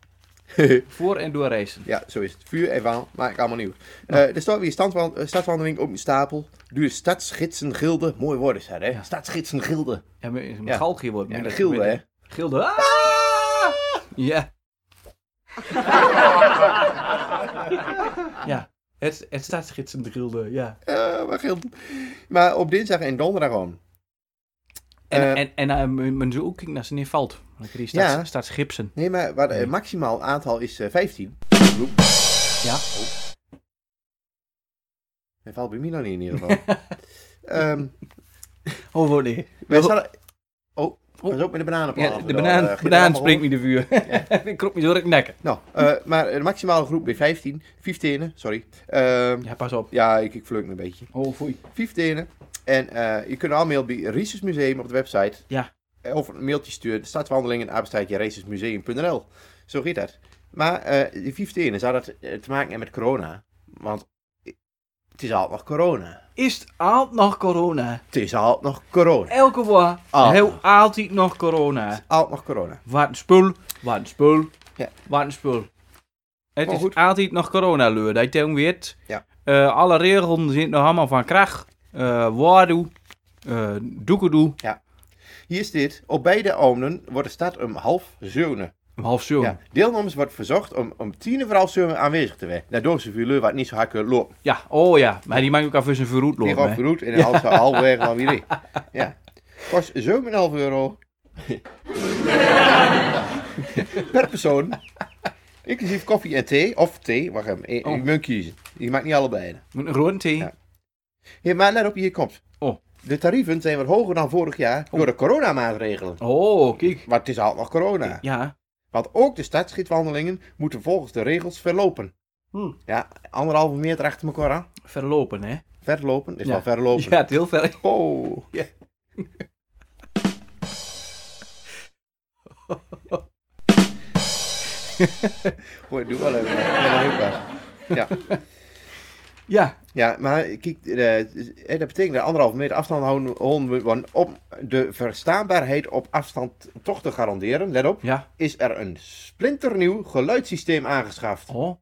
[SPEAKER 3] Voor en door reizen.
[SPEAKER 4] ja, zo is het. Vuur en waan maak ik allemaal nieuw. Eh er staat weer standwan- eh, stadswandeling op een stapel. Duur stadsgidsengilde. Mooi woord is dat, hè?
[SPEAKER 3] Ja.
[SPEAKER 4] Stadsgidsengilde.
[SPEAKER 3] Ja, maar een
[SPEAKER 4] Ja.
[SPEAKER 3] galgje wordt.
[SPEAKER 4] Ja,
[SPEAKER 3] met-
[SPEAKER 4] de gilde,
[SPEAKER 3] met-
[SPEAKER 4] hè?
[SPEAKER 3] Gilde. Ah! Ja. ja. Het, het staat gidsend gilde, ja.
[SPEAKER 4] Eh, maar gild. Maar op dinsdag en donderdag gewoon.
[SPEAKER 3] En,
[SPEAKER 4] Eh.
[SPEAKER 3] en, en eh, mijn- mijn zoon kijkt naar zijn valt. Die staat,
[SPEAKER 4] Ja.
[SPEAKER 3] staat schipsen.
[SPEAKER 4] Nee, maar waar, eh, maximaal aantal is eh, 15.
[SPEAKER 3] Ja.
[SPEAKER 4] Hij valt bij mij nog niet in ieder geval. Ehm
[SPEAKER 3] Oh, oh, nee.
[SPEAKER 4] Wij staan... Oh,
[SPEAKER 3] Oh.
[SPEAKER 4] pas op Eh, met de bananenplaat.
[SPEAKER 3] eh, Ja, de banaan, banaan springt me de vuur. Ik krop me door het nek.
[SPEAKER 4] Nou, eh, maar de maximale groep bij 15. 15, sorry. Ehm, ja,
[SPEAKER 3] Ja, pas op.
[SPEAKER 4] ik, ik flunk een beetje.
[SPEAKER 3] Oh, foei.
[SPEAKER 4] 15. En eh, je kunt al mailen bij Risus Museum op de website.
[SPEAKER 3] Ja.
[SPEAKER 4] Eh, Of een mailtje sturen. Stadswandelingen, apenstaartje, risusmuseum.nl. Zo gaat dat. Maar eh die 15 zou dat eh, te maken hebben met corona. Want het is altijd nog corona.
[SPEAKER 3] Is het altijd nog corona?
[SPEAKER 4] Het is altijd nog corona.
[SPEAKER 3] Elke woord.
[SPEAKER 4] Ah.
[SPEAKER 3] Heel altijd nog corona.
[SPEAKER 4] Altijd nog corona.
[SPEAKER 3] Wat een spul. Wat een spul.
[SPEAKER 4] Ja.
[SPEAKER 3] Wat een spul. Het
[SPEAKER 4] Maar
[SPEAKER 3] is
[SPEAKER 4] goed.
[SPEAKER 3] altijd nog corona, leur. Dat je weet.
[SPEAKER 4] Ja.
[SPEAKER 3] Eh, alle regels zijn nog allemaal van kracht. Eh waardoe. eh doekedoe.
[SPEAKER 4] Hier is dit. Op beide omnen wordt de stad om half zeunen.
[SPEAKER 3] Om half zo.
[SPEAKER 4] Ja,
[SPEAKER 3] Ja.
[SPEAKER 4] deelnemers wordt verzocht om om tien voor half zeven aanwezig te zijn. Daardoor ze vuur wat niet zo hard kunnen lopen.
[SPEAKER 3] Oh ja. Maar die maakt ook even zijn verroet
[SPEAKER 4] Die gaat
[SPEAKER 3] lopen.
[SPEAKER 4] verroet en dan half halverwege van wie Ja. Kost 7,5 euro. per persoon. Inclusief koffie en thee. Of thee, wacht even. Je,
[SPEAKER 3] Oh.
[SPEAKER 4] je moet kiezen. Je maakt niet allebei.
[SPEAKER 3] Met een grote thee.
[SPEAKER 4] Ja. Hier, maar let op, hier komt.
[SPEAKER 3] Oh.
[SPEAKER 4] De tarieven zijn wat hoger dan vorig jaar door de coronamaatregelen.
[SPEAKER 3] Oh, kijk.
[SPEAKER 4] Maar het is altijd nog corona.
[SPEAKER 3] Ja.
[SPEAKER 4] Want ook de stadsgidswandelingen moeten volgens de regels verlopen.
[SPEAKER 3] Hm.
[SPEAKER 4] Ja, anderhalve meter achter elkaar aan.
[SPEAKER 3] Verlopen, hè?
[SPEAKER 4] Verlopen, is
[SPEAKER 3] Ja.
[SPEAKER 4] wel verlopen.
[SPEAKER 3] Ja, het heel ver.
[SPEAKER 4] Oh.
[SPEAKER 3] Ja.
[SPEAKER 4] Goed, doe wel even. Ja, heel pas. Ja.
[SPEAKER 3] Ja.
[SPEAKER 4] ja, maar kijk, eh, dat betekent dat anderhalve meter afstand houden, houden we, want om de verstaanbaarheid op afstand toch te garanderen, let op,
[SPEAKER 3] Ja.
[SPEAKER 4] is er een splinternieuw geluidssysteem aangeschaft.
[SPEAKER 3] Oh.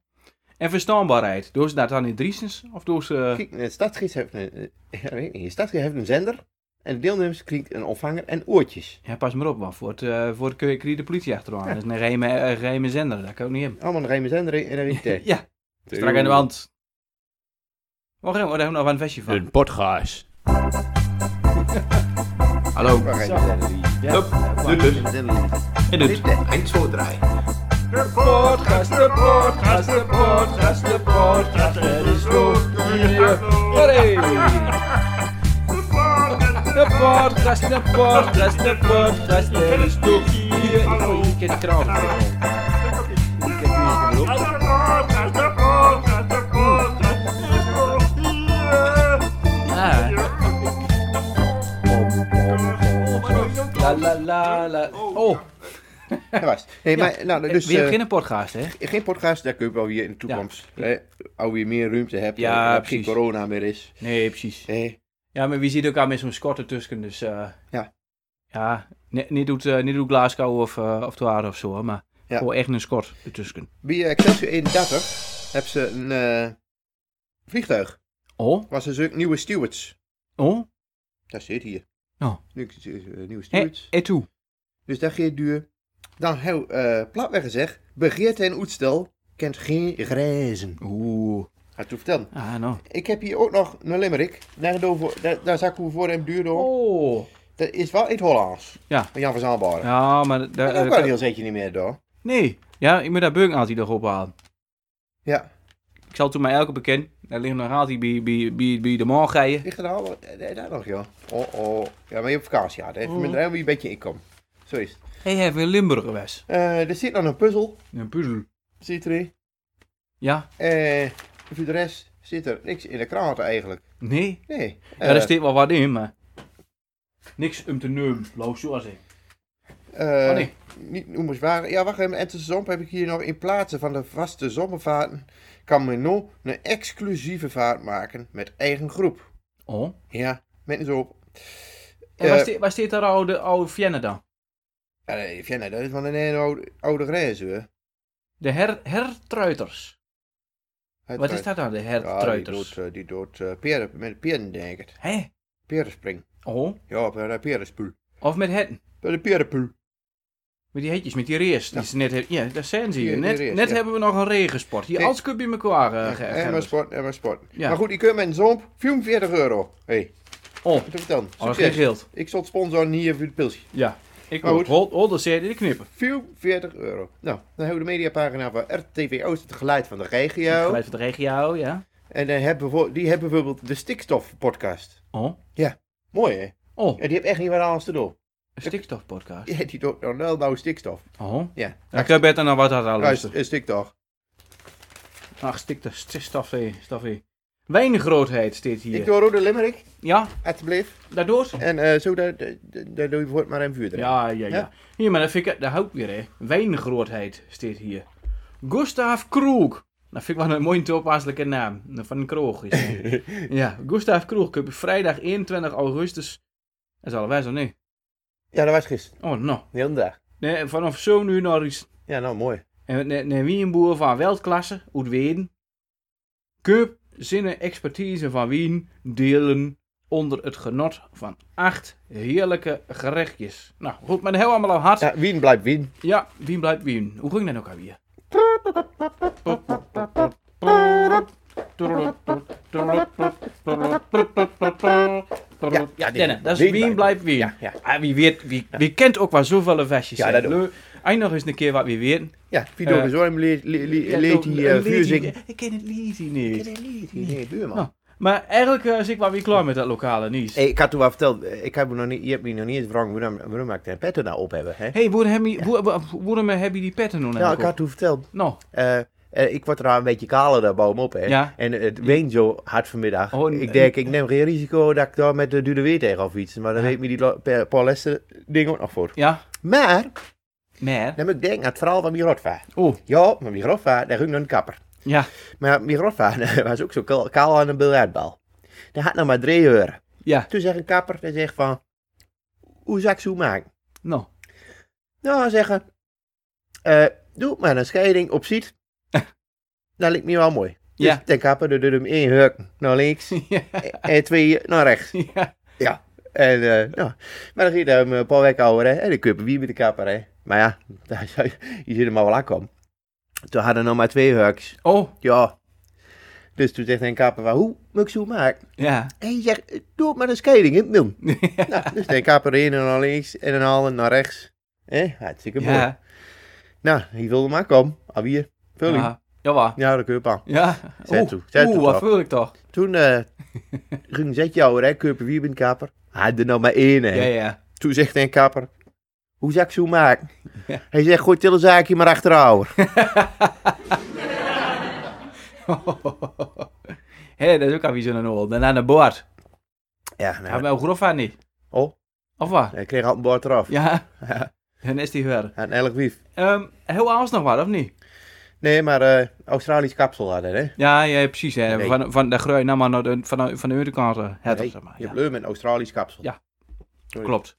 [SPEAKER 3] En verstaanbaarheid. Door ze dat dan in Driesens? Of door ze...
[SPEAKER 4] Kijk, de stadsgids heeft een, eh, ik weet niet, de stadsgids heeft een zender en de deelnemers klinkt een ontvanger en oortjes.
[SPEAKER 3] Ja, pas maar op, man. Voor het, eh, voor het kun je kun je de politie achteraan. Dat is een geheime, eh, geheime zender. Dat kan ook niet hebben.
[SPEAKER 4] Allemaal een geheime zender en een tijd.
[SPEAKER 3] Ja, strak aan de wand. oh, Wacht even, hoor, daar hebben we nog wel een vestje van.
[SPEAKER 6] podcast.
[SPEAKER 3] Hallo.
[SPEAKER 4] Zo.
[SPEAKER 3] Hup, doet het. En doet.
[SPEAKER 4] En zo draaien.
[SPEAKER 6] podcast, de podcast, de podcast, de podcast. Het is goed hier. Hooray! De podcast, de podcast, de podcast. Het is goed hier. Oh, je kent trouwens. Ja. La la la la. Oh,
[SPEAKER 4] Ja, juist. Nee, maar, nou, dus,
[SPEAKER 3] we hebben
[SPEAKER 4] eh,
[SPEAKER 3] geen podcast, hè?
[SPEAKER 4] geen podcast, daar kun je wel weer in de toekomst. Hè, al weer meer ruimte hebt,
[SPEAKER 3] Ja,
[SPEAKER 4] ja, geen
[SPEAKER 3] precies.
[SPEAKER 4] corona meer is.
[SPEAKER 3] Nee, precies.
[SPEAKER 4] Hè.
[SPEAKER 3] Ja, maar wie ziet elkaar met zo'n schort ertussen, dus... eh,
[SPEAKER 4] Ja.
[SPEAKER 3] Ja, ni- niet doet, eh, niet doet Glasgow of, eh of Twaarden of zo, hoor, maar
[SPEAKER 4] Ja.
[SPEAKER 3] gewoon echt een schort ertussen.
[SPEAKER 4] Bij eh, Excelsior 31 hebben ze een eh, vliegtuig.
[SPEAKER 3] Oh,
[SPEAKER 4] Was dus ook nieuwe stewards.
[SPEAKER 3] oh,
[SPEAKER 4] Daar zit hier.
[SPEAKER 3] Oh.
[SPEAKER 4] Nu- eh, Nieuwe
[SPEAKER 3] en,
[SPEAKER 4] stewards.
[SPEAKER 3] en toe.
[SPEAKER 4] Dus daar geeft duur. Dan heel eh platweg gezegd, begeerte en oetstel kent geen grenzen.
[SPEAKER 3] Oeh,
[SPEAKER 4] Had toe vertellen.
[SPEAKER 3] ah nou.
[SPEAKER 4] Ik heb hier ook nog een limerick. Daar, door- daar, daar zak ik hoe voor hem duur door.
[SPEAKER 3] Oh.
[SPEAKER 4] Dat is wel iets Hollands.
[SPEAKER 3] Ja.
[SPEAKER 4] Van Jan van Zaalbaren.
[SPEAKER 3] Ja, eh, maar...
[SPEAKER 4] dat
[SPEAKER 3] Daar,
[SPEAKER 4] is ook wel een heel zetje niet meer door.
[SPEAKER 3] nee, ja, ik moet daar Beung altijd nog ophalen.
[SPEAKER 4] Ja.
[SPEAKER 3] Ik zal toen mij elke bekend. Daar ligt nog altijd bij, bij, bij, bij de morgen.
[SPEAKER 4] Ligt er nou wat- eh, daar nog, joh. Oh, oh. Ja, maar je hebt vakantie gehad. hè.
[SPEAKER 3] Mm.
[SPEAKER 4] Even met een beetje inkomen. Zo is het.
[SPEAKER 3] Hé, hey, even in Limburg geweest.
[SPEAKER 4] Eh, er zit nog een puzzel.
[SPEAKER 3] Een puzzel.
[SPEAKER 4] Zit erin.
[SPEAKER 3] Ja,
[SPEAKER 4] Eh, voor de rest zit er niks in de krant eigenlijk.
[SPEAKER 3] nee.
[SPEAKER 4] Nee.
[SPEAKER 3] ja,
[SPEAKER 4] Eh,
[SPEAKER 3] daar steekt wel wat in, maar... Niks om te nemen, laat ik zo zeggen.
[SPEAKER 4] eh,
[SPEAKER 3] Oh, nee.
[SPEAKER 4] Niet noemenswaardig. Ja, wacht even. En te zomp heb ik hier nog in plaatsen van de vaste zomervaarten... kan men nu een exclusieve vaart maken met eigen groep.
[SPEAKER 3] Oh.
[SPEAKER 4] Ja, met zo op.
[SPEAKER 3] En
[SPEAKER 4] Eh.
[SPEAKER 3] waar, steekt, waar steekt daar oude, oude Vienne dan?
[SPEAKER 4] Ja, nee, Vienna, dat is van een hele oude, oude grijze, hè.
[SPEAKER 3] De her, hertruiters.
[SPEAKER 4] Hij
[SPEAKER 3] Wat
[SPEAKER 4] draait-
[SPEAKER 3] is dat nou, de
[SPEAKER 4] Ja, die
[SPEAKER 3] hertruiters?
[SPEAKER 4] doet, eh, die doet eh, peren, met peren, denk ik.
[SPEAKER 3] Hé?
[SPEAKER 4] Perenspring.
[SPEAKER 3] Oh.
[SPEAKER 4] Ja, per- eh, perenspuul.
[SPEAKER 3] Of met hetten.
[SPEAKER 4] Bij de perenpuul.
[SPEAKER 3] Met die hetjes, met die reers.
[SPEAKER 4] Ja.
[SPEAKER 3] Die ze net, he- ja, daar zijn ze
[SPEAKER 4] Die-
[SPEAKER 3] hier.
[SPEAKER 4] die
[SPEAKER 3] Net,
[SPEAKER 4] reers,
[SPEAKER 3] net
[SPEAKER 4] ja.
[SPEAKER 3] hebben we nog een regensport. Hier,
[SPEAKER 4] Nee.
[SPEAKER 3] alles kun je bij elkaar eh, ge-
[SPEAKER 4] en maar
[SPEAKER 3] gerbers.
[SPEAKER 4] sport, en maar sport.
[SPEAKER 3] Ja.
[SPEAKER 4] Maar goed, die kun je met een zomp 44 euro. Hé, hey,
[SPEAKER 3] Oh,
[SPEAKER 4] wat heb ik dan?
[SPEAKER 3] alles geen
[SPEAKER 4] Succes.
[SPEAKER 3] geld.
[SPEAKER 4] ik zal het sponsoren hier voor het pilsje.
[SPEAKER 3] Ja. Ik
[SPEAKER 4] Maar
[SPEAKER 3] ook.
[SPEAKER 4] goed.
[SPEAKER 3] Hol, hol, dat zei je, die knippen.
[SPEAKER 4] 44 euro. Nou, dan hebben we de mediapagina van RTV Oost, het geluid van de regio.
[SPEAKER 3] Het geluid van de regio, ja.
[SPEAKER 4] En dan hebben we, voor- die hebben bijvoorbeeld de stikstofpodcast.
[SPEAKER 3] Oh,
[SPEAKER 4] Mooi, hè?
[SPEAKER 3] oh,
[SPEAKER 4] Ja, die heeft echt niet wat anders te doen.
[SPEAKER 3] een stikstofpodcast.
[SPEAKER 4] Ja, die doet nou nou stikstof.
[SPEAKER 3] Oh.
[SPEAKER 4] Ja,
[SPEAKER 3] Ja, ik heb beter naar wat dat al
[SPEAKER 4] luister,
[SPEAKER 3] luisteren.
[SPEAKER 4] eh, stikstof.
[SPEAKER 3] Ach, stikstof, stikstof, eh, stof, eh. Wijngrootheid steekt
[SPEAKER 4] Ik
[SPEAKER 3] hier.
[SPEAKER 4] doe rode limerick,
[SPEAKER 3] Ja,
[SPEAKER 4] alsjeblieft.
[SPEAKER 3] daardoor?
[SPEAKER 4] En eh, zo, daar, daar, daar doe je voort maar een vuur erin.
[SPEAKER 3] Ja, ja, ja.
[SPEAKER 4] Ja?
[SPEAKER 3] Hier, maar dat vind ik, dat houdt weer, hè. Wijngrootheid steekt hier. Gustav Kroeg. Dat vind ik wel een mooie toepasselijke naam. eh, Van een kroeg is het. Ja, Gustav Kroeg. Ik heb vrijdag 21 augustus. Dat is al wijs of nee?
[SPEAKER 4] Ja, dat was gisteren.
[SPEAKER 3] Oh, nou.
[SPEAKER 4] De hele dag.
[SPEAKER 3] Nee, vanaf zo'n uur naar iets.
[SPEAKER 4] Ja, nou mooi.
[SPEAKER 3] En en- en wie een boer van wereldklasse, uit Weden. Keup zinnen expertise van Wien delen onder het genot van acht heerlijke gerechtjes. Nou goed, maar heel allemaal al hard. Ja.
[SPEAKER 4] Ja, wien blijft wien.
[SPEAKER 3] Wien blijft Wien. Hoe ging dat nou, ook alweer?
[SPEAKER 4] Ja, ja, dit-
[SPEAKER 3] Denne, dat is Wien blijft Wien.
[SPEAKER 4] Ja, ja.
[SPEAKER 3] Ah, wie, weet, wie, wie kent ook wel zoveel versjes.
[SPEAKER 4] Ja,
[SPEAKER 3] hè?
[SPEAKER 4] dat ook.
[SPEAKER 3] Leu- Eindig eens een keer wat we weten.
[SPEAKER 4] Ja, Fido
[SPEAKER 3] Eh,
[SPEAKER 4] Bezorm leert leert die eh, vuur zingen.
[SPEAKER 3] Ik ken het liedje niet.
[SPEAKER 4] Nee, buurman.
[SPEAKER 3] Nou. Maar eigenlijk eh zit ik wel weer klaar met dat lokale nieuws.
[SPEAKER 4] Hey, ik had toen wel verteld, eh, ik heb me nog niet, je hebt me nog niet eens gevraagd waarom, waarom ik de petten nou op hebben. Hè?
[SPEAKER 3] hey, waarom heb je, waar- waar- waarom heb je die petten nog
[SPEAKER 4] nou,
[SPEAKER 3] nou,
[SPEAKER 4] ik had toen verteld,
[SPEAKER 3] Nou,
[SPEAKER 4] eh, eh, ik word er al een beetje kaler daar bovenop. Hè?
[SPEAKER 3] Ja.
[SPEAKER 4] En het weent zo hard vanmiddag.
[SPEAKER 3] Oh, en-
[SPEAKER 4] ik denk, ik neem geen risico dat ik daar met de duurde weer tegen of iets. Maar dan
[SPEAKER 3] Ja.
[SPEAKER 4] weet me die lo- pe- Paul Lester ding ook nog voor.
[SPEAKER 3] ja,
[SPEAKER 4] Maar,
[SPEAKER 3] maar.
[SPEAKER 4] dan moet ik denken aan het verhaal van mijn grootvader.
[SPEAKER 3] Oh,
[SPEAKER 4] Ja, maar mijn grootvader, daar ging naar een kapper.
[SPEAKER 3] ja.
[SPEAKER 4] Maar mijn grootvader was ook zo kaal, kaal aan een biljartbal. Daar had nog maar drie uur.
[SPEAKER 3] Ja,
[SPEAKER 4] Toen zegt een kapper, die zegt van, hoe zou ik zo maken?
[SPEAKER 3] nou.
[SPEAKER 4] Nou, zeggen, eh, doe maar een scheiding op ziet. dat lijkt me wel mooi. Dus
[SPEAKER 3] Ja.
[SPEAKER 4] de kapper doet hem één huk naar links
[SPEAKER 3] ja,
[SPEAKER 4] en twee eh, naar rechts.
[SPEAKER 3] ja.
[SPEAKER 4] Ja. En, eh, nou, maar dan ging hij hem een paar weken ouder, hè. En dan kun je wie met de kapper, hè. Maar ja, daar zou je, je ziet hem al wel aankomen. Toen hadden we nog maar twee hurks.
[SPEAKER 3] Oh,
[SPEAKER 4] Ja. Dus toen zegt Henk Kaper, "Waar hoe moet ik zo maken?
[SPEAKER 3] Ja.
[SPEAKER 4] En je zegt, eh, doe het met een scheiding in het midden. nou, dus Henk Kaper heen en naar links en een halen naar rechts. Eh, hartstikke mooi.
[SPEAKER 3] Ja.
[SPEAKER 4] Nou, hier wilde maar komen. Abier, vul hem.
[SPEAKER 3] Ja. Jawel.
[SPEAKER 4] Ja, dat kun je aan.
[SPEAKER 3] Ja.
[SPEAKER 4] Zet
[SPEAKER 3] Oeh,
[SPEAKER 4] toe, zet
[SPEAKER 3] oeh,
[SPEAKER 4] toe
[SPEAKER 3] wat
[SPEAKER 4] toch.
[SPEAKER 3] vul ik toch?
[SPEAKER 4] Toen eh, ging zet jou hè, Keuper wie bent kaper. Hij had er nou maar één. Hè.
[SPEAKER 3] Ja, ja.
[SPEAKER 4] Toen zegt een kaper, hoe zou ik zo maken?
[SPEAKER 3] Ja.
[SPEAKER 4] Hij zegt, gooi het hele zaakje maar achterover.
[SPEAKER 3] Hé, dat is ook aan wie zo'n oorlog. Dan aan de boord.
[SPEAKER 4] ja,
[SPEAKER 3] Hij
[SPEAKER 4] nou,
[SPEAKER 3] mij grof aan niet.
[SPEAKER 4] Oh.
[SPEAKER 3] Of wat?
[SPEAKER 4] hij kreeg al een bord eraf.
[SPEAKER 3] Ja. Dan is die verder.
[SPEAKER 4] Aan elk wief.
[SPEAKER 3] Ehm, heel anders nog wat, of niet?
[SPEAKER 4] Nee, maar eh, Australisch kapsel hadden, hè?
[SPEAKER 3] Ja, ja precies. Hè.
[SPEAKER 4] Nee.
[SPEAKER 3] Van, van de grui naar maar naar de, van, de- van de uitenkant. eh, Het,
[SPEAKER 4] Nee,
[SPEAKER 3] zeg maar.
[SPEAKER 4] Je
[SPEAKER 3] Ja,
[SPEAKER 4] hebt leum met Australisch kapsel.
[SPEAKER 3] Ja.
[SPEAKER 4] Sorry.
[SPEAKER 3] klopt.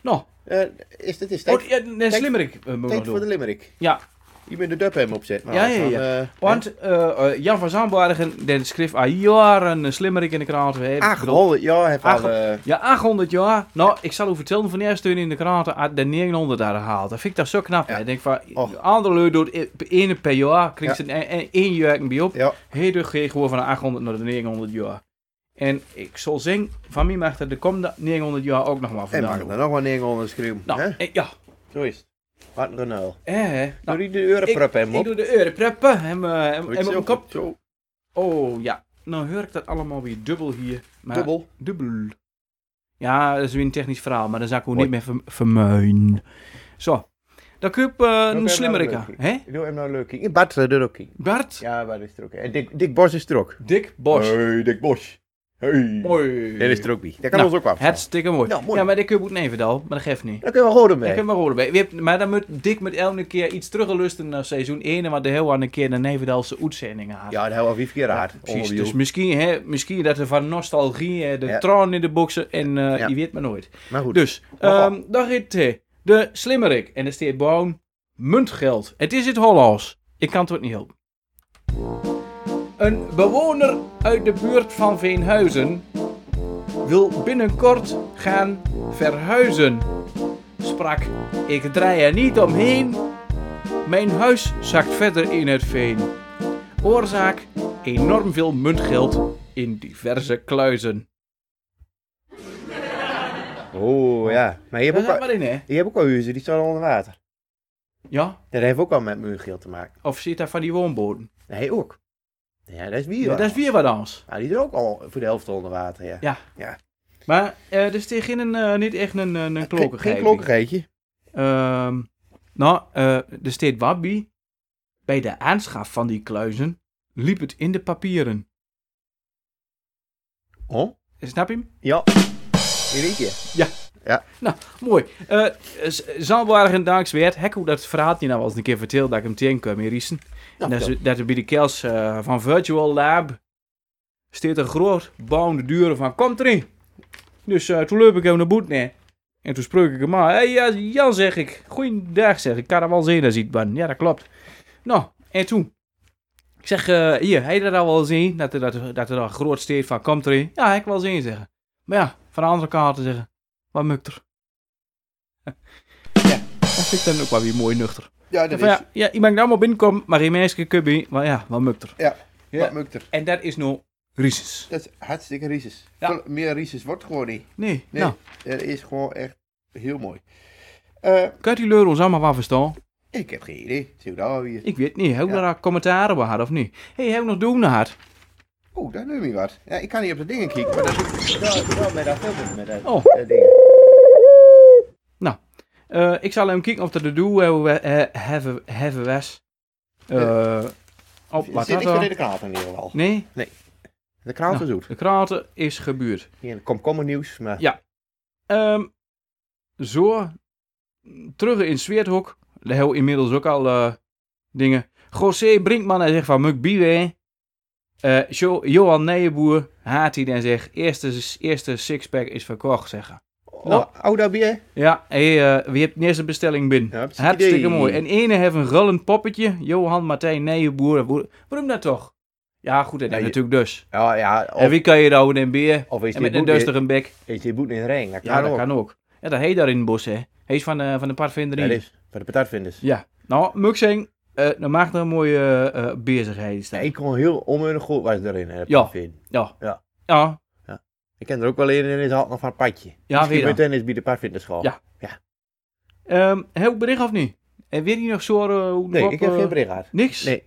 [SPEAKER 3] Nou,
[SPEAKER 4] Eh, is dit is tijd,
[SPEAKER 3] oh, ja, nee,
[SPEAKER 4] tijd-
[SPEAKER 3] slimmerik eh, moet ik nog
[SPEAKER 4] tijd voor de
[SPEAKER 3] doen.
[SPEAKER 4] limerick.
[SPEAKER 3] Ja,
[SPEAKER 4] Je bent de dub hem opzet. Maar
[SPEAKER 3] Ja, ja,
[SPEAKER 4] dan,
[SPEAKER 3] ja.
[SPEAKER 4] eh,
[SPEAKER 3] want eh, eh, Jan van Zandbergen die schreef al jaren een slimmerik in de krant. hè. Ik
[SPEAKER 4] Ach,
[SPEAKER 3] bedoel-
[SPEAKER 4] honderd jaar heb
[SPEAKER 3] Ach,
[SPEAKER 4] al... eh,
[SPEAKER 3] Ja, 800 jaar. Nou, ik zal u vertellen van de eerste uur in de kranten had de 900 daar gehaald. Dat vind ik dat zo knap. hè.
[SPEAKER 4] Ja.
[SPEAKER 3] Ik denk van,
[SPEAKER 4] Och.
[SPEAKER 3] andere lui doet e- ene per jaar, krijgt
[SPEAKER 4] Ja.
[SPEAKER 3] ze een- een- één jaar een bij op.
[SPEAKER 4] ja,
[SPEAKER 3] Heel dus ging gewoon van de 800 naar de 900 jaar. En ik zal zeggen, van mij mag er de komende 900 jaar ook nog maar
[SPEAKER 4] en mag
[SPEAKER 3] vandaan.
[SPEAKER 4] ik er nog maar neer onder schreeuwen.
[SPEAKER 3] Nou,
[SPEAKER 4] hè?
[SPEAKER 3] eh, ja.
[SPEAKER 4] Zo is het. Wat een genuil.
[SPEAKER 3] Eh, hè.
[SPEAKER 4] Doe
[SPEAKER 3] Nou,
[SPEAKER 4] die de europrep hem
[SPEAKER 3] ik
[SPEAKER 4] op.
[SPEAKER 3] doe de europreppen en, eh, en,
[SPEAKER 4] Doe ik
[SPEAKER 3] en
[SPEAKER 4] zo.
[SPEAKER 3] mijn kop.
[SPEAKER 4] Zo,
[SPEAKER 3] Oh ja, nou hoor ik dat allemaal weer dubbel hier. Maar,
[SPEAKER 4] dubbel.
[SPEAKER 3] Dubbel. Ja, dat is weer een technisch verhaal, maar dan zou ik ook
[SPEAKER 4] Hoi.
[SPEAKER 3] niet meer verm- vermuien. Zo. Dan kun je eh,
[SPEAKER 4] ben
[SPEAKER 3] een slimmerik
[SPEAKER 4] nou
[SPEAKER 3] aan.
[SPEAKER 4] leuk.
[SPEAKER 3] Hè?
[SPEAKER 4] Ik doe hem nou leuk. in. Bart eh, doet ook in.
[SPEAKER 3] Bart?
[SPEAKER 4] Ja, Bart is er ook in. En Dick, Dick Bos is er ook.
[SPEAKER 3] Dick Bos.
[SPEAKER 4] Hey, Dick Bos. Hey.
[SPEAKER 3] Mooi.
[SPEAKER 4] Dit is er ook bij. Dat kan
[SPEAKER 3] Nou,
[SPEAKER 4] ons ook wel.
[SPEAKER 3] Hartstikke mooi.
[SPEAKER 4] Nou, mooi.
[SPEAKER 3] Ja, maar dit kun je moeten even dal, maar dat geeft niet.
[SPEAKER 4] Daar kunnen we gewoon
[SPEAKER 3] Ik
[SPEAKER 4] mee.
[SPEAKER 3] heb maar horen bij. We hebben- Maar dan moet Dick met elke keer iets teruggelusten naar seizoen 1, want de heel een keer de Nevendalse uitzendingen had.
[SPEAKER 4] Ja, dat hebben we al vijf keer gehad.
[SPEAKER 3] precies.
[SPEAKER 4] Onder de
[SPEAKER 3] Dus
[SPEAKER 4] joe.
[SPEAKER 3] misschien, hè, misschien dat er van nostalgie hè, de
[SPEAKER 4] Ja.
[SPEAKER 3] tranen in de boksen en eh,
[SPEAKER 4] Ja.
[SPEAKER 3] je weet maar nooit.
[SPEAKER 4] Maar goed.
[SPEAKER 3] Dus, ehm dan gaat eh, de slimmerik. En er staat gewoon muntgeld. Het is het Hollands. Ik kan het ook niet helpen. Een bewoner uit de buurt van Veenhuizen wil binnenkort gaan verhuizen. Sprak, ik draai er niet omheen. Mijn huis zakt verder in het veen. Oorzaak, enorm veel muntgeld in diverse kluizen.
[SPEAKER 4] Oh ja. Maar je hebt
[SPEAKER 3] Daar zat
[SPEAKER 4] ook al,
[SPEAKER 3] maar in, hè?
[SPEAKER 4] je hebt ook al huizen die staan onder water.
[SPEAKER 3] Ja?
[SPEAKER 4] Dat heeft ook al met muurgeel te maken.
[SPEAKER 3] Of zit daar van die woonboden?
[SPEAKER 4] Nee, ook. Ja, dat is
[SPEAKER 3] Ja,
[SPEAKER 4] bier.
[SPEAKER 3] dat is weer wat anders.
[SPEAKER 4] Ah, die is ook al voor de helft onder water, ja.
[SPEAKER 3] Maar eh dus tegen een, eh, niet echt een, een, een
[SPEAKER 4] Geen-
[SPEAKER 3] klokkengever.
[SPEAKER 4] Geen klokkengeitje.
[SPEAKER 3] Ehm, nou, eh, er staat Wabbi. Bij de aanschaf van die kluizen liep het in de papieren.
[SPEAKER 4] Oh?
[SPEAKER 3] Snap je hem?
[SPEAKER 4] Ja. Hier weet je.
[SPEAKER 3] Nou, mooi. Eh Zandbergen, dankzij Hek hoe dat verhaaltje nou was een keer verteld dat ik hem tegenkwam in Riesen. En dat, ze, dat er bij de kels eh, van Virtual Lab staat een groot bouwende deuren van kom erin. Dus eh, toen loop ik hem naar boet neer. En toen spreek ik hem aan. Hey, ja, Jan zeg ik. Goeiedag zeg ik. Kan er wel zien als ik ben. Ja, dat klopt. Nou, en toen. Ik zeg, eh, hier, heb je dat al wel zien? Dat er, dat, er- dat er een groot steed van komt erin. Ja, heb ik wel zien zeggen. Maar ja, van de andere kant te zeggen. Wat mukter. ja, dat vind ik dan ook wel weer mooi nuchter.
[SPEAKER 4] Ja,
[SPEAKER 3] Van, ja, ja, ik mag allemaal binnenkomen, maar geen meisje kubby, maar ja, wat mukter. Ja.
[SPEAKER 4] Wat mukt er?
[SPEAKER 3] En dat is nou Rises.
[SPEAKER 4] Dat is hartstikke rieses.
[SPEAKER 3] Ja.
[SPEAKER 4] Veel Meer rieses wordt gewoon niet.
[SPEAKER 3] Nee,
[SPEAKER 4] Nee,
[SPEAKER 3] nou,
[SPEAKER 4] dat is gewoon echt heel mooi. Eh,
[SPEAKER 3] kunt u leur ons allemaal wat verstaan?
[SPEAKER 4] ik heb geen idee. Zie je daar weer.
[SPEAKER 3] Ik weet niet, heb ik
[SPEAKER 4] Ja.
[SPEAKER 3] daar commentaren bij gehad of niet? Hé, hey, heb ik nog doen gehad?
[SPEAKER 4] Oeh, daar neem je wat. Ja, ik kan niet op de dingen kijken, maar dat is wel, wel met dat filmpje met dat
[SPEAKER 3] Oh.
[SPEAKER 4] dat ding.
[SPEAKER 3] Eh, ik zal hem kijken of dat de doel hebben we- eh, hebben- hebben was. Eh, op
[SPEAKER 4] Er
[SPEAKER 3] wat
[SPEAKER 4] zit
[SPEAKER 3] dat
[SPEAKER 4] niks meer in
[SPEAKER 3] dan?
[SPEAKER 4] de kraal in ieder geval.
[SPEAKER 3] Nee,
[SPEAKER 4] De kraal
[SPEAKER 3] Nou.
[SPEAKER 4] is zoet.
[SPEAKER 3] de kraten is gebeurd.
[SPEAKER 4] Hier komt komkommer nieuws, maar
[SPEAKER 3] Ja. Ehm, zo, terug in Zweerthok. Daar hebben we inmiddels ook al eh, dingen. José Brinkman, hij zegt van Muk Biwe. Eh, Jo- Johan Nijenboer haat hij en zegt: eerste, eerste sixpack is verkocht, zeggen. Nou.
[SPEAKER 4] Oh, ouda bier.
[SPEAKER 3] Ja, hey, eh, wie hebt de eerste bestelling binnen?
[SPEAKER 4] Ja, precies.
[SPEAKER 3] Hartstikke
[SPEAKER 4] Idee.
[SPEAKER 3] mooi. En ene heeft een rullend poppetje. Johan Martijn Nijenboer. Wo- Waarom dat toch? Ja, goed, dat
[SPEAKER 4] Ja,
[SPEAKER 3] is
[SPEAKER 4] Nou, je-
[SPEAKER 3] natuurlijk dus.
[SPEAKER 4] Ja, ja. Oh,
[SPEAKER 3] en
[SPEAKER 4] Of,
[SPEAKER 3] wie kan je houden en beer?
[SPEAKER 4] of is
[SPEAKER 3] En
[SPEAKER 4] die
[SPEAKER 3] met een
[SPEAKER 4] boet
[SPEAKER 3] duster
[SPEAKER 4] in-
[SPEAKER 3] een bek.
[SPEAKER 4] is die boet in de ring? Nou, Dat
[SPEAKER 3] Ja,
[SPEAKER 4] kan
[SPEAKER 3] dat
[SPEAKER 4] ook.
[SPEAKER 3] kan ook. Ja, dat heet daar in het bos, hè. Hij is van de, van de
[SPEAKER 4] Ja,
[SPEAKER 3] partvinderie.
[SPEAKER 4] dat is. Van de patatvinders.
[SPEAKER 3] Ja. Nou, Muxing, eh, dan maakt er een mooie eh bezigheid staan.
[SPEAKER 4] Nee, ik kon heel onmunnig goed was erin. Hè,
[SPEAKER 3] Ja.
[SPEAKER 4] Vind.
[SPEAKER 3] Ja.
[SPEAKER 4] Ja.
[SPEAKER 3] Ja.
[SPEAKER 4] Ik ken er ook wel een in het had nog van een padje.
[SPEAKER 3] Ja,
[SPEAKER 4] Misschien
[SPEAKER 3] weer dan.
[SPEAKER 4] meteen is bij de padvinderschool.
[SPEAKER 3] Ja. Ehm, heb ik bericht of niet? En weet je nog zo eh, hoe
[SPEAKER 4] Nee,
[SPEAKER 3] op,
[SPEAKER 4] ik heb
[SPEAKER 3] eh,
[SPEAKER 4] geen bericht gehad.
[SPEAKER 3] Niks?
[SPEAKER 4] Nee.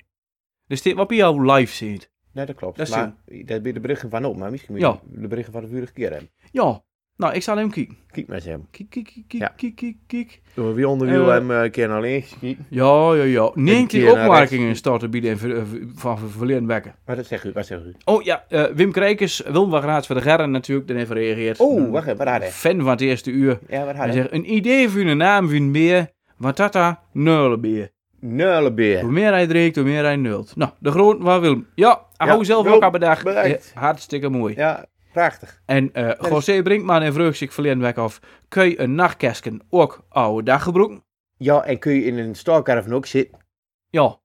[SPEAKER 3] Dus dit wat bij jou live zit.
[SPEAKER 4] Nee, dat klopt.
[SPEAKER 3] Dat is
[SPEAKER 4] maar dat bij de berichten van op, maar misschien moet je
[SPEAKER 3] Ja.
[SPEAKER 4] de berichten van de vorige keer hebben.
[SPEAKER 3] Ja. Nou, ik zal hem kijken.
[SPEAKER 4] Kijk maar eens hem.
[SPEAKER 3] Kijk, kijk, kijk, kijk,
[SPEAKER 4] Ja.
[SPEAKER 3] kijk, kijk, kijk.
[SPEAKER 4] Door wie onderwiel
[SPEAKER 3] Eh,
[SPEAKER 4] hem eh, een keer naar links kijken.
[SPEAKER 3] Ja, ja, ja. Neemt
[SPEAKER 4] keer
[SPEAKER 3] die
[SPEAKER 4] naar
[SPEAKER 3] opmerkingen starten bieden en ver- eh, ver- van ver- verleden wekken.
[SPEAKER 4] Maar dat zegt u, wat zegt u?
[SPEAKER 3] Oh ja, eh, Wim Krijkers, Wilm van Raad van de Gerren natuurlijk, dan even reageert.
[SPEAKER 4] Oh, wacht even, wat had hij?
[SPEAKER 3] Fan van het eerste uur.
[SPEAKER 4] Ja, wat had
[SPEAKER 3] Hij
[SPEAKER 4] hij?
[SPEAKER 3] zegt, een idee voor een naam voor een beer, want dat daar nullen beer.
[SPEAKER 4] Nullenbeer.
[SPEAKER 3] Hoe meer hij drinkt, hoe meer hij nult. Nou, de groot waar Willem. Ja, hij
[SPEAKER 4] Ja,
[SPEAKER 3] hou zelf
[SPEAKER 4] Willem,
[SPEAKER 3] ook aan bedacht.
[SPEAKER 4] bedankt.
[SPEAKER 3] Ja, hartstikke mooi.
[SPEAKER 4] Ja, dus- prachtig.
[SPEAKER 3] En eh José Brinkman en vreugde zich verleden weg af. Kun je een nachtkersken ook oude dag gebroken?
[SPEAKER 4] Ja, en kun je in een stalkerven ook zitten?
[SPEAKER 3] Ja.
[SPEAKER 4] Oh,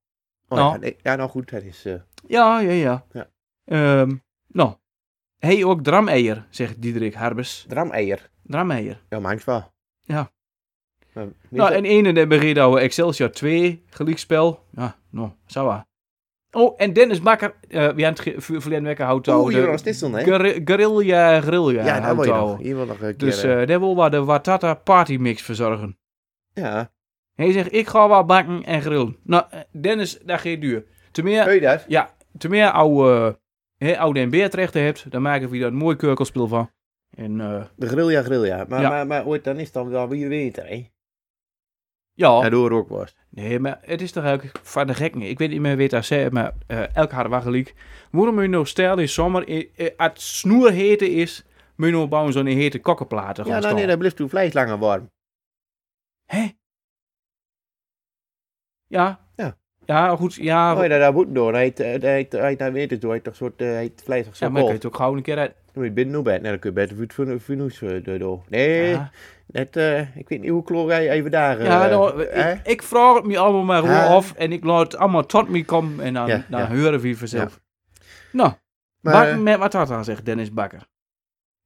[SPEAKER 3] Nou.
[SPEAKER 4] ja, nee, ja, nou goed, dat is... eh,
[SPEAKER 3] Ja, ja, ja.
[SPEAKER 4] Ja.
[SPEAKER 3] Ehm, nou. Hey, ook drameier, zegt Diederik Harbers.
[SPEAKER 4] drameier.
[SPEAKER 3] Drameier.
[SPEAKER 4] Ja, manks wel.
[SPEAKER 3] Ja.
[SPEAKER 4] Maar,
[SPEAKER 3] Nou, en ene de begreep Excelsior 2, gelijkspel. Ja, nou, zo waar. Oh, en Dennis Bakker, eh wie aan het ge- ver- verleden wekken houdt
[SPEAKER 4] Oeh,
[SPEAKER 3] houden.
[SPEAKER 4] hier was dit dan, hè?
[SPEAKER 3] Guerri- Guerrilla, guerrilla.
[SPEAKER 4] Ja, daar
[SPEAKER 3] houdt
[SPEAKER 4] wil je nog.
[SPEAKER 3] houden.
[SPEAKER 4] Hier wil nog een keer...
[SPEAKER 3] Dus
[SPEAKER 4] eh,
[SPEAKER 3] eh daar wil waar de Watata Party Mix verzorgen.
[SPEAKER 4] ja,
[SPEAKER 3] Hij zegt, ik ga wat bakken en grillen. Nou, eh, Dennis, daar geeft duur. Te meer,
[SPEAKER 4] kun je dat?
[SPEAKER 3] ja, te meer oude, hè, oude en beertrechten hebt, dan maken we daar een mooi kurkelspel van. En eh
[SPEAKER 4] De grillja, grillja. Maar,
[SPEAKER 3] Ja.
[SPEAKER 4] maar, maar ooit, dan is het dan wel weer winter, hè?
[SPEAKER 3] ja,
[SPEAKER 4] Ja, door ook was.
[SPEAKER 3] nee, maar het is toch eigenlijk van de gek niet. Ik weet niet meer wie dat zei, maar eh elk haar waggeliek. Waarom moet je nou stijl in zomer, eh, eh, als het snoer hete is, moet je nou bouwen zo'n hete kokkenplaten gaan
[SPEAKER 4] Ja, nou,
[SPEAKER 3] staan.
[SPEAKER 4] nee, dan blijft uw vlees langer warm.
[SPEAKER 3] Hé? Ja.
[SPEAKER 4] Ja.
[SPEAKER 3] Ja, goed, ja.
[SPEAKER 4] Oh, ja, daar moet door. Hij heet, eh, hij heet, hij heet naar winter door. Hij heet toch soort, eh, hij heet vlees toch zo
[SPEAKER 3] Ja, maar ik kan je het ook gauw een keer uit.
[SPEAKER 4] Dan moet je binnen naar bed. Nee, dan kun je beter vuur van vuurnoes eh, door. Nee,
[SPEAKER 3] Ja.
[SPEAKER 4] net, eh, ik weet niet hoe kloor hij even daar...
[SPEAKER 3] Ja,
[SPEAKER 4] eh,
[SPEAKER 3] nou,
[SPEAKER 4] hè?
[SPEAKER 3] ik, ik vraag het me allemaal maar gewoon
[SPEAKER 4] Ah.
[SPEAKER 3] af en ik laat het allemaal tot me komen en dan,
[SPEAKER 4] Ja,
[SPEAKER 3] dan
[SPEAKER 4] ja.
[SPEAKER 3] horen we vanzelf. Nou,
[SPEAKER 4] Maar,
[SPEAKER 3] bakken
[SPEAKER 4] eh,
[SPEAKER 3] met watata, zegt Dennis Bakker.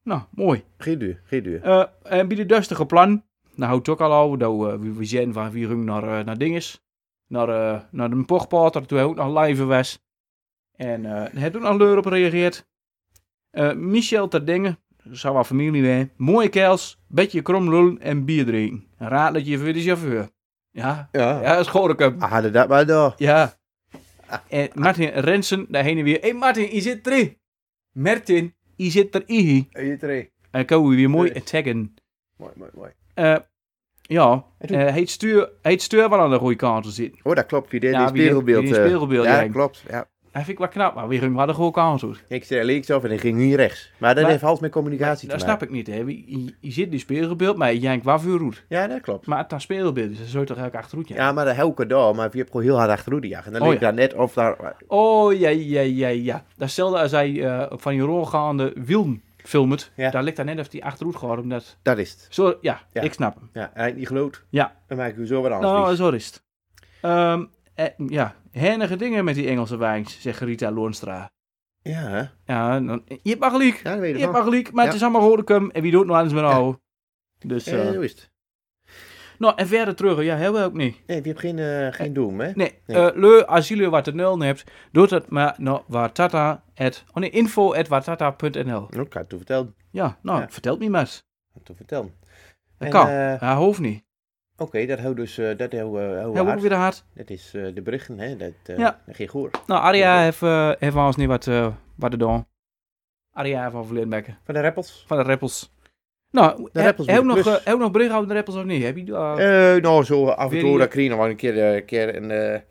[SPEAKER 3] Nou, mooi.
[SPEAKER 4] Geen duur, geen duur.
[SPEAKER 3] Eh en bij de dustige plan, nou houdt het ook al over, nou, eh, we, we zijn van Vierum naar, eh, naar Dinges, naar, eh, naar de Pochpater, toen hij ook nog live was. En eh hij heeft ook nog leur op gereageerd. Eh, Michel Terdingen, zou wel familie zijn, mooie keels, beetje krom lullen en bier drinken. Raad dat je voor de chauffeur. Ja,
[SPEAKER 4] Ja.
[SPEAKER 3] ja, dat schoor ik hem.
[SPEAKER 4] Ah, hadden dat maar door.
[SPEAKER 3] Ja. En Martin Rensen, daar heen en weer. Hé hey Martin, je zit erin. Martin, je zit erin.
[SPEAKER 4] Je drie.
[SPEAKER 3] En kan we weer mooi taggen.
[SPEAKER 4] Mooi, mooi, mooi.
[SPEAKER 3] Eh, ja,
[SPEAKER 4] En toen-
[SPEAKER 3] Eh, hij stuur, hij stuur wel aan de goede kant te zitten.
[SPEAKER 4] Oh, dat klopt. Wie deed
[SPEAKER 3] Ja,
[SPEAKER 4] die
[SPEAKER 3] wie deed-
[SPEAKER 4] spiegelbeeld?
[SPEAKER 3] wie deed
[SPEAKER 4] eh,
[SPEAKER 3] spiegelbeeld,
[SPEAKER 4] Ja,
[SPEAKER 3] ja.
[SPEAKER 4] klopt. Ja.
[SPEAKER 3] Hij vind ik wel knap, maar weer een hadden goede kant doet.
[SPEAKER 4] Ik zei links af en ik ging hier rechts. Maar dat
[SPEAKER 3] Maar-
[SPEAKER 4] heeft alles met communicatie
[SPEAKER 3] Dat
[SPEAKER 4] te
[SPEAKER 3] snap
[SPEAKER 4] maken.
[SPEAKER 3] ik niet, hè. Je, je- je zit in speelbeeld, maar je jankt waar voor roet.
[SPEAKER 4] Ja, dat klopt.
[SPEAKER 3] Maar het is speelbeeld, dus dan zou je toch eigenlijk achteruit janken?
[SPEAKER 4] Ja, maar dat helke door. Maar je hebt gewoon heel hard achteruit gejaagd. En dan
[SPEAKER 3] Oh,
[SPEAKER 4] liep ik
[SPEAKER 3] ja.
[SPEAKER 4] daar net of daar...
[SPEAKER 3] Oh, ja, ja, ja, ja. Dat is hetzelfde als hij eh, op van je rolgaande wielen filmt.
[SPEAKER 4] Ja.
[SPEAKER 3] Daar ligt dan net of hij achteruit gaat. Omdat...
[SPEAKER 4] Dat is het.
[SPEAKER 3] Zo, ja,
[SPEAKER 4] Ja.
[SPEAKER 3] ik snap hem.
[SPEAKER 4] Ja, en hij heeft niet geloot.
[SPEAKER 3] Ja.
[SPEAKER 4] Dan maak ik u zo wat anders.
[SPEAKER 3] Nou,
[SPEAKER 4] lief.
[SPEAKER 3] zo is het. Ehm, eh, ja, hernige dingen met die Engelse wijns, zegt Rita Loonstra.
[SPEAKER 4] Ja, hè?
[SPEAKER 3] Ja, dan, je hebt maar gelijk.
[SPEAKER 4] Ja, dat weet
[SPEAKER 3] je
[SPEAKER 4] je
[SPEAKER 3] hebt
[SPEAKER 4] wel.
[SPEAKER 3] maar gelijk, maar het
[SPEAKER 4] Ja.
[SPEAKER 3] is allemaal Rodecum en wie doet nou anders met nou? Dus,
[SPEAKER 4] Ja,
[SPEAKER 3] eh,
[SPEAKER 4] zo is het.
[SPEAKER 3] nou, en verder terug, ja, hebben we ook niet.
[SPEAKER 4] Nee, je hebt geen, eh, geen doem, hè?
[SPEAKER 3] Nee,
[SPEAKER 4] Nee.
[SPEAKER 3] eh, leu, als jullie wat te nul hebt, doet het maar naar watata. at- oh nee, info at watata.nl.
[SPEAKER 4] Nou, ik had het toen verteld. Ik
[SPEAKER 3] Ja, nou,
[SPEAKER 4] Ja.
[SPEAKER 3] vertelt me maar. eens.
[SPEAKER 4] had het toen verteld.
[SPEAKER 3] Dat
[SPEAKER 4] En,
[SPEAKER 3] kan.
[SPEAKER 4] eh, Oké,
[SPEAKER 3] Ja, hoeft niet.
[SPEAKER 4] dat houdt dus... eh, dat houdt eh, houdt
[SPEAKER 3] Ja, ook
[SPEAKER 4] hard.
[SPEAKER 3] weer hard.
[SPEAKER 4] Dat is eh, de berichten, hè? Dat, eh
[SPEAKER 3] Ja.
[SPEAKER 4] dat ging goed.
[SPEAKER 3] Nou, Aria
[SPEAKER 4] Ja.
[SPEAKER 3] heeft, eh, heeft ons niet wat, eh wat te doen. Aria van Vlindbekken.
[SPEAKER 4] Van de rappels?
[SPEAKER 3] Van de Rappels. Nou,
[SPEAKER 4] De
[SPEAKER 3] he-
[SPEAKER 4] Rappels
[SPEAKER 3] heb je
[SPEAKER 4] met
[SPEAKER 3] nog,
[SPEAKER 4] de plus.
[SPEAKER 3] eh, heb je nog bericht over de Rappels of niet? Heb je, eh,
[SPEAKER 4] Eh, nou, zo af en
[SPEAKER 3] Weer
[SPEAKER 4] toe
[SPEAKER 3] hier.
[SPEAKER 4] dat kreeg nog wel een keer, eh, een keer een, eh, eh,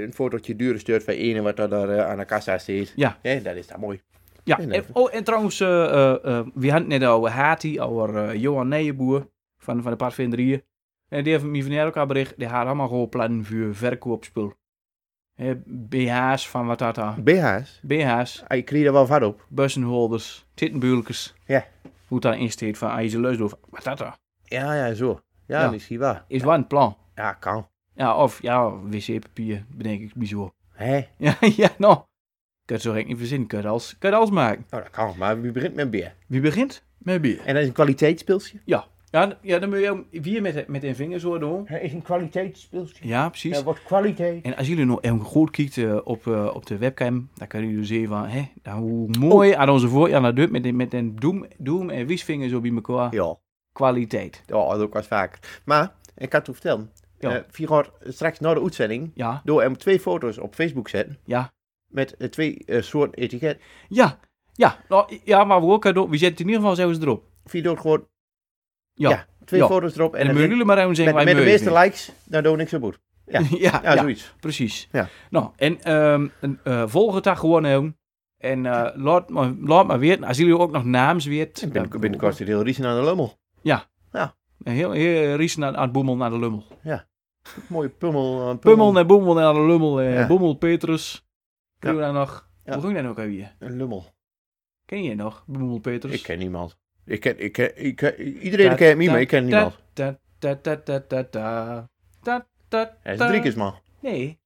[SPEAKER 4] een fotootje duur stuurt van ene wat er daar eh, aan de kassa zit.
[SPEAKER 3] Ja.
[SPEAKER 4] Nee, dat is dan mooi.
[SPEAKER 3] ja.
[SPEAKER 4] en
[SPEAKER 3] en-
[SPEAKER 4] even.
[SPEAKER 3] oh, en trouwens, eh, eh, eh, we hadden het net over Hati, over eh, Johan Nijenboer van, van de Parvinderieën. En die heeft me van elkaar bericht. Die had allemaal gewoon plannen voor verkoopspul. Eh, BH's van wat dat dan.
[SPEAKER 4] BH's?
[SPEAKER 3] BH's,
[SPEAKER 4] Ah, Ik kreeg er wel van op.
[SPEAKER 3] bussenholders, tittenbulkers.
[SPEAKER 4] Ja.
[SPEAKER 3] Hoe het daarin steekt van IJzer of Wat dat dan.
[SPEAKER 4] Ja, ja, zo. Ja,
[SPEAKER 3] Ja.
[SPEAKER 4] misschien wel.
[SPEAKER 3] Is wel een plan.
[SPEAKER 4] Ja, kan.
[SPEAKER 3] Ja, of ja, wc-papier, bedenk ik bijzonder.
[SPEAKER 4] Hé?
[SPEAKER 3] Ja, ja, nou. Kun je het zo gek niet verzinnen. Kun je het als, kun je het als maken.
[SPEAKER 4] Nou, dat kan. Maar wie begint met een beer?
[SPEAKER 3] Wie begint? Met bier.
[SPEAKER 4] En dat is een kwaliteitspilsje?
[SPEAKER 3] Ja. Ja, d- ja dan moet je ook weer met, met een vinger zo doen.
[SPEAKER 7] Het is een kwaliteitsspeltje.
[SPEAKER 3] Ja, precies.
[SPEAKER 7] Er wordt kwaliteit.
[SPEAKER 3] En als jullie nog even goed kijken op, eh, op de webcam, dan kunnen jullie zien van, hè, nou, hoe mooi aan onze voorjaar naar deur met, die- met een doem, doem en wiesvinger zo bij elkaar.
[SPEAKER 4] Ja,
[SPEAKER 3] Kwaliteit.
[SPEAKER 4] ja dat ook wat vaker. Maar, ik kan het u vertellen.
[SPEAKER 3] Ja.
[SPEAKER 4] eh, we gaan straks na de uitzending
[SPEAKER 3] Ja,
[SPEAKER 4] door hem twee foto's op Facebook zetten.
[SPEAKER 3] ja,
[SPEAKER 4] Met eh, twee eh, soorten etiket.
[SPEAKER 3] ja, ja. Nou, ja, maar we, ook, eh, we zetten in ieder geval zelfs erop.
[SPEAKER 4] Vier doet gewoon
[SPEAKER 3] Ja.
[SPEAKER 4] ja, twee
[SPEAKER 3] Ja.
[SPEAKER 4] foto's erop. En,
[SPEAKER 3] En dan
[SPEAKER 4] dan
[SPEAKER 3] moeten jullie maar even
[SPEAKER 4] met,
[SPEAKER 3] zeggen waar
[SPEAKER 4] met
[SPEAKER 3] je
[SPEAKER 4] de
[SPEAKER 3] mee
[SPEAKER 4] meeste
[SPEAKER 3] vindt.
[SPEAKER 4] likes, daar doe ik niks zo goed.
[SPEAKER 3] Ja,
[SPEAKER 4] Ja,
[SPEAKER 3] ja,
[SPEAKER 4] zoiets.
[SPEAKER 3] precies.
[SPEAKER 4] Ja.
[SPEAKER 3] Nou, en ehm een, eh, volg het daar gewoon heen. En eh, laat, maar, laat maar weten, als jullie ook nog naams weten.
[SPEAKER 4] En binnen, binnenkort zit heel Riesen aan de lummel.
[SPEAKER 3] Heel, heel Riesen aan, aan het boemel naar de lummel.
[SPEAKER 4] Mooie pummel. eh,
[SPEAKER 3] Pummel naar boemel naar de lummel. eh,
[SPEAKER 4] Ja.
[SPEAKER 3] Boemel Petrus. Kunnen we daar nog?
[SPEAKER 4] Ja.
[SPEAKER 3] Hoe ging dat ook alweer?
[SPEAKER 4] Een lummel.
[SPEAKER 3] Ken je nog? Boemel Petrus.
[SPEAKER 4] Ik ken niemand. Ik ken, ik ken, ik ken- iedereen kent me, maar ik ken niemand.
[SPEAKER 3] Da, da, da, da, da, da. Da, da,
[SPEAKER 4] Hij is
[SPEAKER 3] da.
[SPEAKER 4] een driekjesman.
[SPEAKER 3] Nee.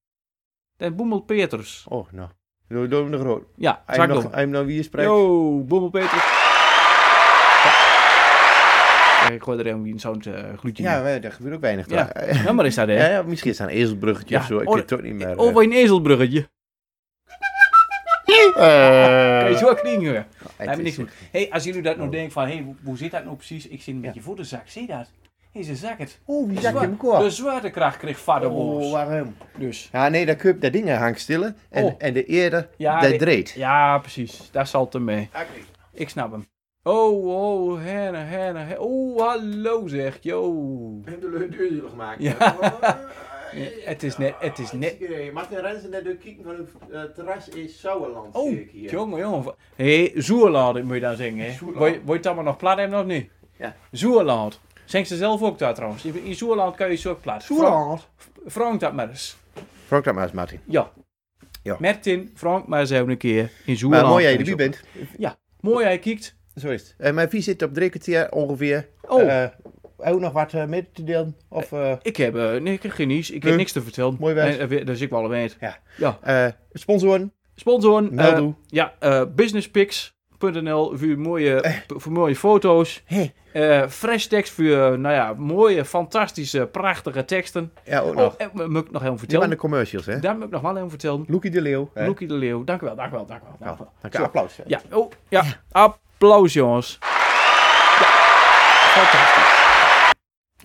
[SPEAKER 3] Dat is Boemel Peters.
[SPEAKER 4] Oh, nou. Doe doe hem nog rood.
[SPEAKER 3] Ja,
[SPEAKER 4] Hij
[SPEAKER 3] zak
[SPEAKER 4] hem nog-
[SPEAKER 3] door.
[SPEAKER 4] hij hem nou wie spreekt.
[SPEAKER 3] Yo, Boemel Peters. Ja. Ik gooi er even zo'n eh gloedje
[SPEAKER 4] Ja,
[SPEAKER 3] in.
[SPEAKER 4] maar daar gebeurt ook weinig.
[SPEAKER 3] Ja.
[SPEAKER 4] toch? Eh,
[SPEAKER 3] Ja, maar is dat hè?
[SPEAKER 4] Ja, ja, misschien is het een ezelbruggetje
[SPEAKER 3] Ja,
[SPEAKER 4] of zo. Ik
[SPEAKER 3] oh,
[SPEAKER 4] weet het ook niet meer. eh.
[SPEAKER 3] Of een ezelbruggetje.
[SPEAKER 4] Eh,
[SPEAKER 3] Kan je zo klinken.
[SPEAKER 4] het
[SPEAKER 3] Daar heb ik niks
[SPEAKER 4] is-
[SPEAKER 3] mee. Hey, als jullie dat nou denken van, hey, hoe- hoe zit dat nou precies? Ik zit met je voetenzak, zie je dat? Hé, ze zak het.
[SPEAKER 4] Oeh,
[SPEAKER 3] De
[SPEAKER 4] die zakt
[SPEAKER 3] zwa-
[SPEAKER 4] in elkaar.
[SPEAKER 3] Dus De zwaartekracht kreeg vader
[SPEAKER 4] Oh,
[SPEAKER 3] oh,
[SPEAKER 4] waarom?
[SPEAKER 3] Dus.
[SPEAKER 4] Ja, nee, dat, kuip, dat ding hangt stille. En,
[SPEAKER 3] Oh.
[SPEAKER 4] en de eerder,
[SPEAKER 3] Ja,
[SPEAKER 4] dat
[SPEAKER 3] die-
[SPEAKER 4] dreed.
[SPEAKER 3] Ja, precies. Daar zal het hem mee. Ik snap hem. Oh, oh, herne, herne, herne. Oh, hallo zeg, yo.
[SPEAKER 4] Ik heb de deur jullie gemaakt.
[SPEAKER 3] Ja.
[SPEAKER 4] Eh,
[SPEAKER 3] Het is net, het is net.
[SPEAKER 4] Martin Rensen net door kijken van het terras is Sauerland.
[SPEAKER 3] Oh, jongen, jongen. Hé, hey, Zoerland moet je dan zingen, hè? Word je- word je het allemaal nog plat hebben of niet?
[SPEAKER 4] Ja.
[SPEAKER 3] Zoerland. Zing ze zelf ook daar trouwens. In in Zoerland kan je zo ook plat. Frank, Frank dat maar eens.
[SPEAKER 4] Frank dat maar eens, Martin.
[SPEAKER 3] Ja.
[SPEAKER 4] Ja.
[SPEAKER 3] Martin, Frank, maar eens even een keer in Zoerland.
[SPEAKER 4] Maar mooi dat je
[SPEAKER 3] kan
[SPEAKER 4] erbij
[SPEAKER 3] zo-
[SPEAKER 4] bent.
[SPEAKER 3] Mooi hij kijkt.
[SPEAKER 4] Zo is het. Eh, mijn vies zit op drie kwartier ongeveer.
[SPEAKER 3] Oh.
[SPEAKER 4] Eh, ook nog wat eh, mee te delen? Of, eh,
[SPEAKER 3] Ik heb, eh, nee, ik heb geen nieuws. Ik heb
[SPEAKER 4] Nee.
[SPEAKER 3] niks te vertellen.
[SPEAKER 4] Mooi wijs.
[SPEAKER 3] Nee, eh, we- dus ik wel weet.
[SPEAKER 4] Ja.
[SPEAKER 3] ja.
[SPEAKER 4] eh, sponsoren?
[SPEAKER 3] Sponsoren.
[SPEAKER 4] Meldoe.
[SPEAKER 3] eh, ja, eh businesspicks.nl voor mooie,
[SPEAKER 4] Eh.
[SPEAKER 3] voor mooie foto's.
[SPEAKER 4] Hey.
[SPEAKER 3] Eh, fresh tekst voor, eh, nou ja, mooie, fantastische, prachtige teksten.
[SPEAKER 4] ja, ook nog.
[SPEAKER 3] Oh, en moet ik nog even
[SPEAKER 4] Die
[SPEAKER 3] vertellen?
[SPEAKER 4] waren de commercials, hè?
[SPEAKER 3] Daar moet ik nog wel even vertellen.
[SPEAKER 4] Loekie de Leeuw. hè?
[SPEAKER 3] Loekie de Leeuw. Dank u wel, dank u wel, dank u wel.
[SPEAKER 4] Nou,
[SPEAKER 3] Dank u wel.
[SPEAKER 4] dank je. Applaus. hè?
[SPEAKER 3] Ja, oh, ja. Applaus, jongens. Ja. Fantastisch.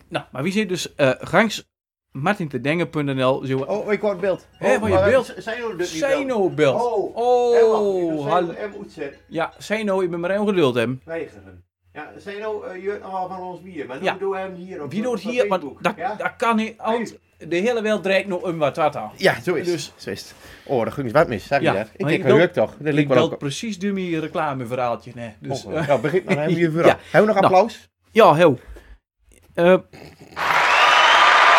[SPEAKER 3] Nou, maar wie zit dus eh gangs martintedengen.nl zo
[SPEAKER 4] Oh, ik hoor het beeld.
[SPEAKER 3] Hé, hoor je
[SPEAKER 4] maar,
[SPEAKER 3] beeld?
[SPEAKER 4] eh, Zijn jullie dit niet beeld?
[SPEAKER 3] Zeno belt.
[SPEAKER 4] Oh,
[SPEAKER 3] oh hallo.
[SPEAKER 4] en Oetzet.
[SPEAKER 3] Ja, Zeno, je bent maar even geduld hem.
[SPEAKER 4] Weigeren. Ja, nou, Zeno, je hebt nogal eh, van ons bier, maar
[SPEAKER 3] Ja. doe-
[SPEAKER 4] hem hier op
[SPEAKER 3] Wie doet hier, want dat,
[SPEAKER 4] ja?
[SPEAKER 3] dat kan niet. want De hele wereld dreigt nog een wat wat aan.
[SPEAKER 4] zo is
[SPEAKER 3] Dus-
[SPEAKER 4] het. Zo is het. Oh, dat ging iets wat mis, zag je
[SPEAKER 3] Ja,
[SPEAKER 4] dat? Ik
[SPEAKER 3] maar
[SPEAKER 4] denk,
[SPEAKER 3] ik
[SPEAKER 4] dat
[SPEAKER 3] wil-
[SPEAKER 4] lukt toch? Dat
[SPEAKER 3] Ik
[SPEAKER 4] lijkt wel
[SPEAKER 3] belt
[SPEAKER 4] ook.
[SPEAKER 3] precies dummy reclameverhaaltje. Nee. Dus, eh,
[SPEAKER 4] Ja, begin maar even hier vooral.
[SPEAKER 3] Ja.
[SPEAKER 4] Hebben we nog
[SPEAKER 3] Nou.
[SPEAKER 4] applaus?
[SPEAKER 3] Ja, heel. Eh,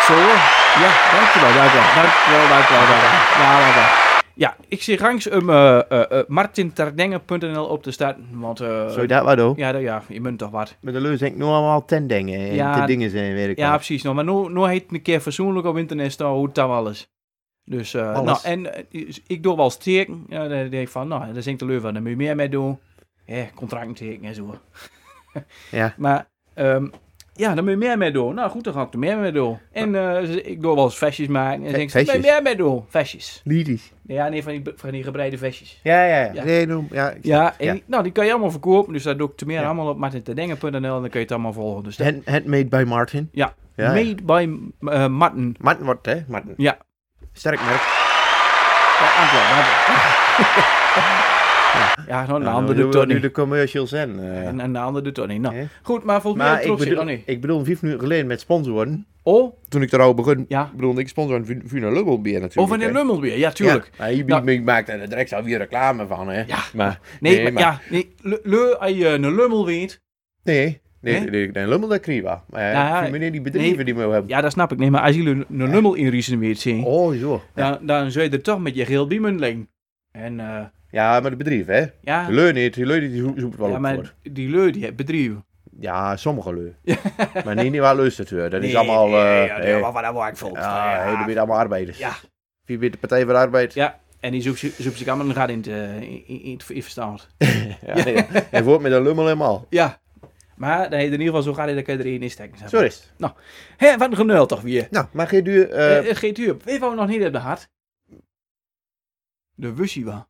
[SPEAKER 3] zo hoor. Ja, dankjewel, dankjewel. Dankjewel, dankjewel, dankjewel. Ja, dankjewel. Ja, ik zie rangs om eh, eh, eh, martinterdengen.nl op te staan. Want, eh,
[SPEAKER 4] Zo, dat wat ook.
[SPEAKER 3] ja, dat- ja, je munt toch wat.
[SPEAKER 4] Met de leus denk ik nu allemaal ten dingen en
[SPEAKER 3] Ja,
[SPEAKER 4] te dingen zijn werken.
[SPEAKER 3] Ja, precies. Nou, maar nu, nu heet het een keer fatsoenlijk op internet staan hoe het dan wel is. Dus, eh,
[SPEAKER 4] Alles.
[SPEAKER 3] nou, en eh, ik doe wel steken. Ja, dan denk ik van, nou, dat is ik teleur van. Dan moet je meer mee doen. Ja, contract tekenen en zo.
[SPEAKER 4] Ja.
[SPEAKER 3] Maar, ehm, ja, dan moet je meer mee doen. Nou goed, dan ga ik er meer mee doen. En eh, ik doe wel eens vestjes maken. En dan denk ik,
[SPEAKER 4] vestjes?
[SPEAKER 3] moet je meer mee doen. Vestjes.
[SPEAKER 4] Lyrisch.
[SPEAKER 3] Ja, nee, van die, van die gebreide vestjes.
[SPEAKER 4] Ja, ja, ja.
[SPEAKER 3] Ja.
[SPEAKER 4] Nee, noem, ja. ik-
[SPEAKER 3] Ja, en
[SPEAKER 4] Ja.
[SPEAKER 3] die- nou, die kan je allemaal verkopen. Dus dat doe ik te meer
[SPEAKER 4] Ja.
[SPEAKER 3] allemaal op martintedengen.nl. En dan kun je het allemaal volgen. Dus dat,
[SPEAKER 4] Hand, handmade by Martin.
[SPEAKER 3] ja.
[SPEAKER 4] Ja, ja.
[SPEAKER 3] Made by eh Martin.
[SPEAKER 4] Martin wordt, hè? Martin.
[SPEAKER 3] Ja.
[SPEAKER 4] Sterk merk.
[SPEAKER 3] Ja, dankjewel, dankjewel. Ja, nou, een
[SPEAKER 4] Nou,
[SPEAKER 3] ander
[SPEAKER 4] nu
[SPEAKER 3] doet
[SPEAKER 4] we
[SPEAKER 3] dat
[SPEAKER 4] nu de
[SPEAKER 3] niet.
[SPEAKER 4] commercials en... eh,
[SPEAKER 3] En een ander doet dat niet. Nou,
[SPEAKER 4] Hè?
[SPEAKER 3] goed, maar volgens mij
[SPEAKER 4] Maar ik
[SPEAKER 3] trots je
[SPEAKER 4] bedoel,
[SPEAKER 3] dan niet.
[SPEAKER 4] ik bedoel, vijf minuten geleden met sponsoren,
[SPEAKER 3] Oh,
[SPEAKER 4] toen ik er al begon,
[SPEAKER 3] Ja.
[SPEAKER 4] bedoelde ik sponsoren van Vuna Lubbel bier natuurlijk.
[SPEAKER 3] of een
[SPEAKER 4] hè.
[SPEAKER 3] Lummel weer. Ja, tuurlijk.
[SPEAKER 4] Ja, maar hier
[SPEAKER 3] Nou-
[SPEAKER 4] ik maakt er direct al weer reclame van, hè?
[SPEAKER 3] Ja.
[SPEAKER 4] Maar,
[SPEAKER 3] Nee,
[SPEAKER 4] nee,
[SPEAKER 3] maar, ja, nee, le, le- als je een Lummel weet.
[SPEAKER 4] Nee, nee,
[SPEAKER 3] Nee? Nou
[SPEAKER 4] nee, nee, nee Lummel dat kriwa. Maar eh,
[SPEAKER 3] Ja,
[SPEAKER 4] die meneer die bedrijven
[SPEAKER 3] nee.
[SPEAKER 4] die we hebben.
[SPEAKER 3] Ja, dat snap ik. Nee, maar als jullie een een Lummel in Riesen weet zien,
[SPEAKER 4] Oh, zo. Ja,
[SPEAKER 3] dan, dan zou je er toch met je geel biemen liggen. En eh,
[SPEAKER 4] Ja, maar de bedrijven, hè?
[SPEAKER 3] ja,
[SPEAKER 4] De leur niet, de leur die zo- zoekt wel
[SPEAKER 3] ja,
[SPEAKER 4] op
[SPEAKER 3] maar
[SPEAKER 4] voor.
[SPEAKER 3] die leu, die heeft bedrijven.
[SPEAKER 4] Ja, sommige leur. maar niet, niet waar lust het weer. Dat is
[SPEAKER 3] Nee,
[SPEAKER 4] allemaal...
[SPEAKER 3] nee,
[SPEAKER 4] eh,
[SPEAKER 3] ja,
[SPEAKER 4] hè.
[SPEAKER 3] dat waar- waar ik volgens.
[SPEAKER 4] ja,
[SPEAKER 3] Ja.
[SPEAKER 4] hè, dat zijn allemaal arbeiders.
[SPEAKER 3] Ja.
[SPEAKER 4] Wie weet de Partij voor de Arbeid?
[SPEAKER 3] Ja, en die zoekt zich- zoekt zich allemaal een gat in het, eh, in, in, in het verstand.
[SPEAKER 4] Ja, nee, ja. En voort met de Lummel helemaal.
[SPEAKER 3] Ja. Maar nee, in ieder geval, zo gaat hij, dan kan je er één insteken. zeg maar.
[SPEAKER 4] Zo is het.
[SPEAKER 3] Hé, wat een genul toch weer.
[SPEAKER 4] Nou, maar geen duur... eh,
[SPEAKER 3] Eh, het geeft u op. Weet je wat we nog niet hebben gehad? De Wussiwa.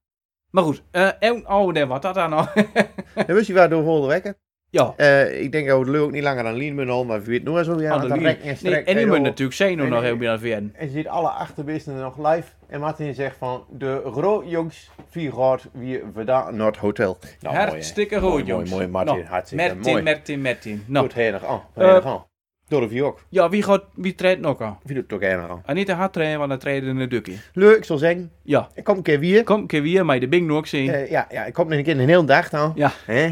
[SPEAKER 3] Maar goed, eh, en, oh nee, wat dat dan nou?
[SPEAKER 4] dan wist je waar door volgende wekken.
[SPEAKER 3] ja,
[SPEAKER 4] Eh, ik denk dat we het leuk ook niet langer aan Lien moeten houden, maar wie weet nooit zo. Ja,
[SPEAKER 3] aan de
[SPEAKER 4] dat
[SPEAKER 3] lien.
[SPEAKER 4] rek en
[SPEAKER 3] nee,
[SPEAKER 4] strek.
[SPEAKER 3] en die moet
[SPEAKER 4] joh.
[SPEAKER 3] natuurlijk zijn
[SPEAKER 4] Nee,
[SPEAKER 3] nog
[SPEAKER 4] nee.
[SPEAKER 3] heel aan het werden.
[SPEAKER 4] En ze ziet alle achterbeesten nog live. En Martin zegt van, de groot jongens, vier gaat weer vandaan naar het hotel. Nou, mooi, hè.
[SPEAKER 3] Hartstikke
[SPEAKER 4] Mooi,
[SPEAKER 3] goed,
[SPEAKER 4] mooi,
[SPEAKER 3] jongens.
[SPEAKER 4] mooi, Martin,
[SPEAKER 3] Nou,
[SPEAKER 4] hartstikke
[SPEAKER 3] Martin,
[SPEAKER 4] mooi.
[SPEAKER 3] Martin, Martin. Nou,
[SPEAKER 4] Goed, heilig aan.
[SPEAKER 3] Eh,
[SPEAKER 4] Heilig aan. Door de vier ook.
[SPEAKER 3] ja, wie, gaat, wie treedt nog aan?
[SPEAKER 4] Wie doet het ook heilig aan.
[SPEAKER 3] En niet te hard trainen, want dan treden de duk in.
[SPEAKER 4] Leuk, ik zal zeggen.
[SPEAKER 3] Ja,
[SPEAKER 4] Ik kom een keer weer.
[SPEAKER 3] kom een keer weer, maar de bing nog zien.
[SPEAKER 4] Eh, ja, ja, ik kom nog een keer een hele dag dan.
[SPEAKER 3] Ja.
[SPEAKER 4] Hè?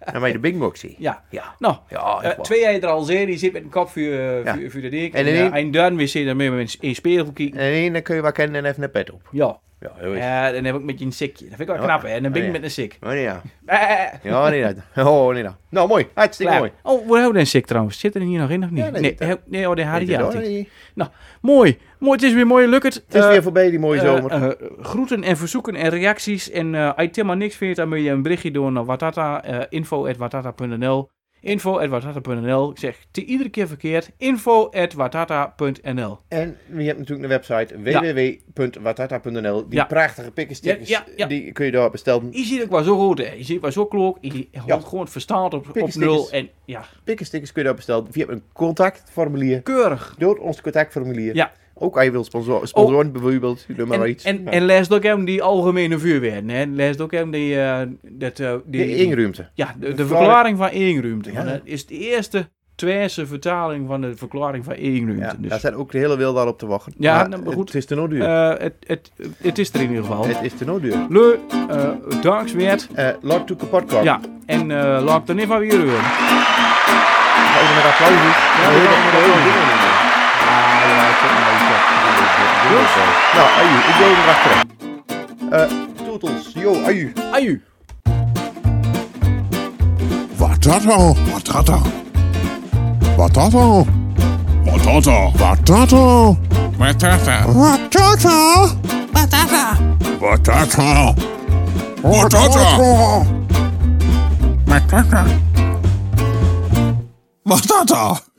[SPEAKER 4] En bij de bingbox zie.
[SPEAKER 3] Ja.
[SPEAKER 4] Ja.
[SPEAKER 3] Nou,
[SPEAKER 4] Ja,
[SPEAKER 3] eh,
[SPEAKER 4] echt wel.
[SPEAKER 3] twee jij er al zit, die zit met een kop voor, eh,
[SPEAKER 4] Ja.
[SPEAKER 3] voor, voor de dik. En,
[SPEAKER 4] En in
[SPEAKER 3] eh,
[SPEAKER 4] één-
[SPEAKER 3] en dan weer zit er meer met een spiegel kijken.
[SPEAKER 4] En één, dan kun je wel kennen en even een pet op.
[SPEAKER 3] Ja.
[SPEAKER 4] Ja, heel
[SPEAKER 3] Ja, dan heb ik met je een sikje. Dat vind ik wel
[SPEAKER 4] Ja.
[SPEAKER 3] knap, hè? En dan ben ik
[SPEAKER 4] Oh, ja.
[SPEAKER 3] met een sik.
[SPEAKER 4] Oh, nee, ja.
[SPEAKER 3] Eh,
[SPEAKER 4] Ja, nee, dat. Oh, nee, dat. Nou, mooi. Hartstikke
[SPEAKER 3] klaar.
[SPEAKER 4] mooi.
[SPEAKER 3] Oh, hoe houden een sik trouwens? Zit er hier nog in of niet?
[SPEAKER 4] Ja, dat
[SPEAKER 3] nee,
[SPEAKER 4] zit er.
[SPEAKER 3] hè, nee, oh, de had
[SPEAKER 4] Weet
[SPEAKER 3] hij
[SPEAKER 4] je
[SPEAKER 3] al.
[SPEAKER 4] wel, nee.
[SPEAKER 3] Nou, mooi. Mooi, het is weer mooi, lukt het.
[SPEAKER 4] Het is
[SPEAKER 3] Eh,
[SPEAKER 4] weer voorbij die mooie
[SPEAKER 3] eh,
[SPEAKER 4] zomer.
[SPEAKER 3] eh, groeten en verzoeken en reacties. En eh, als je helemaal niks vindt, dan moet je een berichtje doen naar watata, eh, info.watata.nl. Info.watata.nl. Ik zeg te iedere keer verkeerd. Info.watata.nl.
[SPEAKER 4] En je hebt natuurlijk een website
[SPEAKER 3] Ja.
[SPEAKER 4] www.watata.nl. Die
[SPEAKER 3] Ja.
[SPEAKER 4] prachtige pikkenstickers,
[SPEAKER 3] Ja, ja, ja.
[SPEAKER 4] die kun je daar bestellen.
[SPEAKER 3] Je ziet het wel zo goed, hè? Je ziet het wel zo klok. Je houdt gewoon het verstand op, op
[SPEAKER 4] Pikkenstickers.
[SPEAKER 3] nul. En ja,
[SPEAKER 4] Pikkenstickers kun je daar bestellen via een contactformulier.
[SPEAKER 3] keurig.
[SPEAKER 4] Door ons contactformulier.
[SPEAKER 3] Ja.
[SPEAKER 4] Ook als je wilt sponsoren, sponsoren bijvoorbeeld, doe maar
[SPEAKER 3] En,
[SPEAKER 4] iets.
[SPEAKER 3] en,
[SPEAKER 4] Ja.
[SPEAKER 3] en leest ook hem die algemene vuurwerden. Hè? Leest ook hem die, eh, dat, eh, die,
[SPEAKER 4] de inruimte.
[SPEAKER 3] Ja, de, de
[SPEAKER 4] de
[SPEAKER 3] verklaring van eenruimte.
[SPEAKER 4] Ja.
[SPEAKER 3] Want Dat is de eerste Twerse vertaling van de verklaring van eenruimte.
[SPEAKER 4] Ja,
[SPEAKER 3] dus,
[SPEAKER 4] daar staat ook de hele wereld al op te wachten.
[SPEAKER 3] Ja, nou, maar goed.
[SPEAKER 4] Het is te nodig.
[SPEAKER 3] eh, het, het, het is er in ieder geval.
[SPEAKER 4] het is te nodig.
[SPEAKER 3] Leu, eh dankzij.
[SPEAKER 4] Eh Lord Toeke Podcast.
[SPEAKER 3] Ja, en eh laat er niet van weer horen.
[SPEAKER 4] Even met applaus.
[SPEAKER 3] we
[SPEAKER 4] Ja,
[SPEAKER 3] gaan met applaus.
[SPEAKER 4] Ah, Nou, aju, ik wil hem achteraan. Eh toetels, yo, aju.
[SPEAKER 3] Aju.
[SPEAKER 1] Wat dat al? Wat dat al? Wat dat al?
[SPEAKER 5] Patata.
[SPEAKER 1] Wat dat al?
[SPEAKER 5] Patata.
[SPEAKER 1] Wat dat al? Wat dat al? Wat dat al? Wat dat al?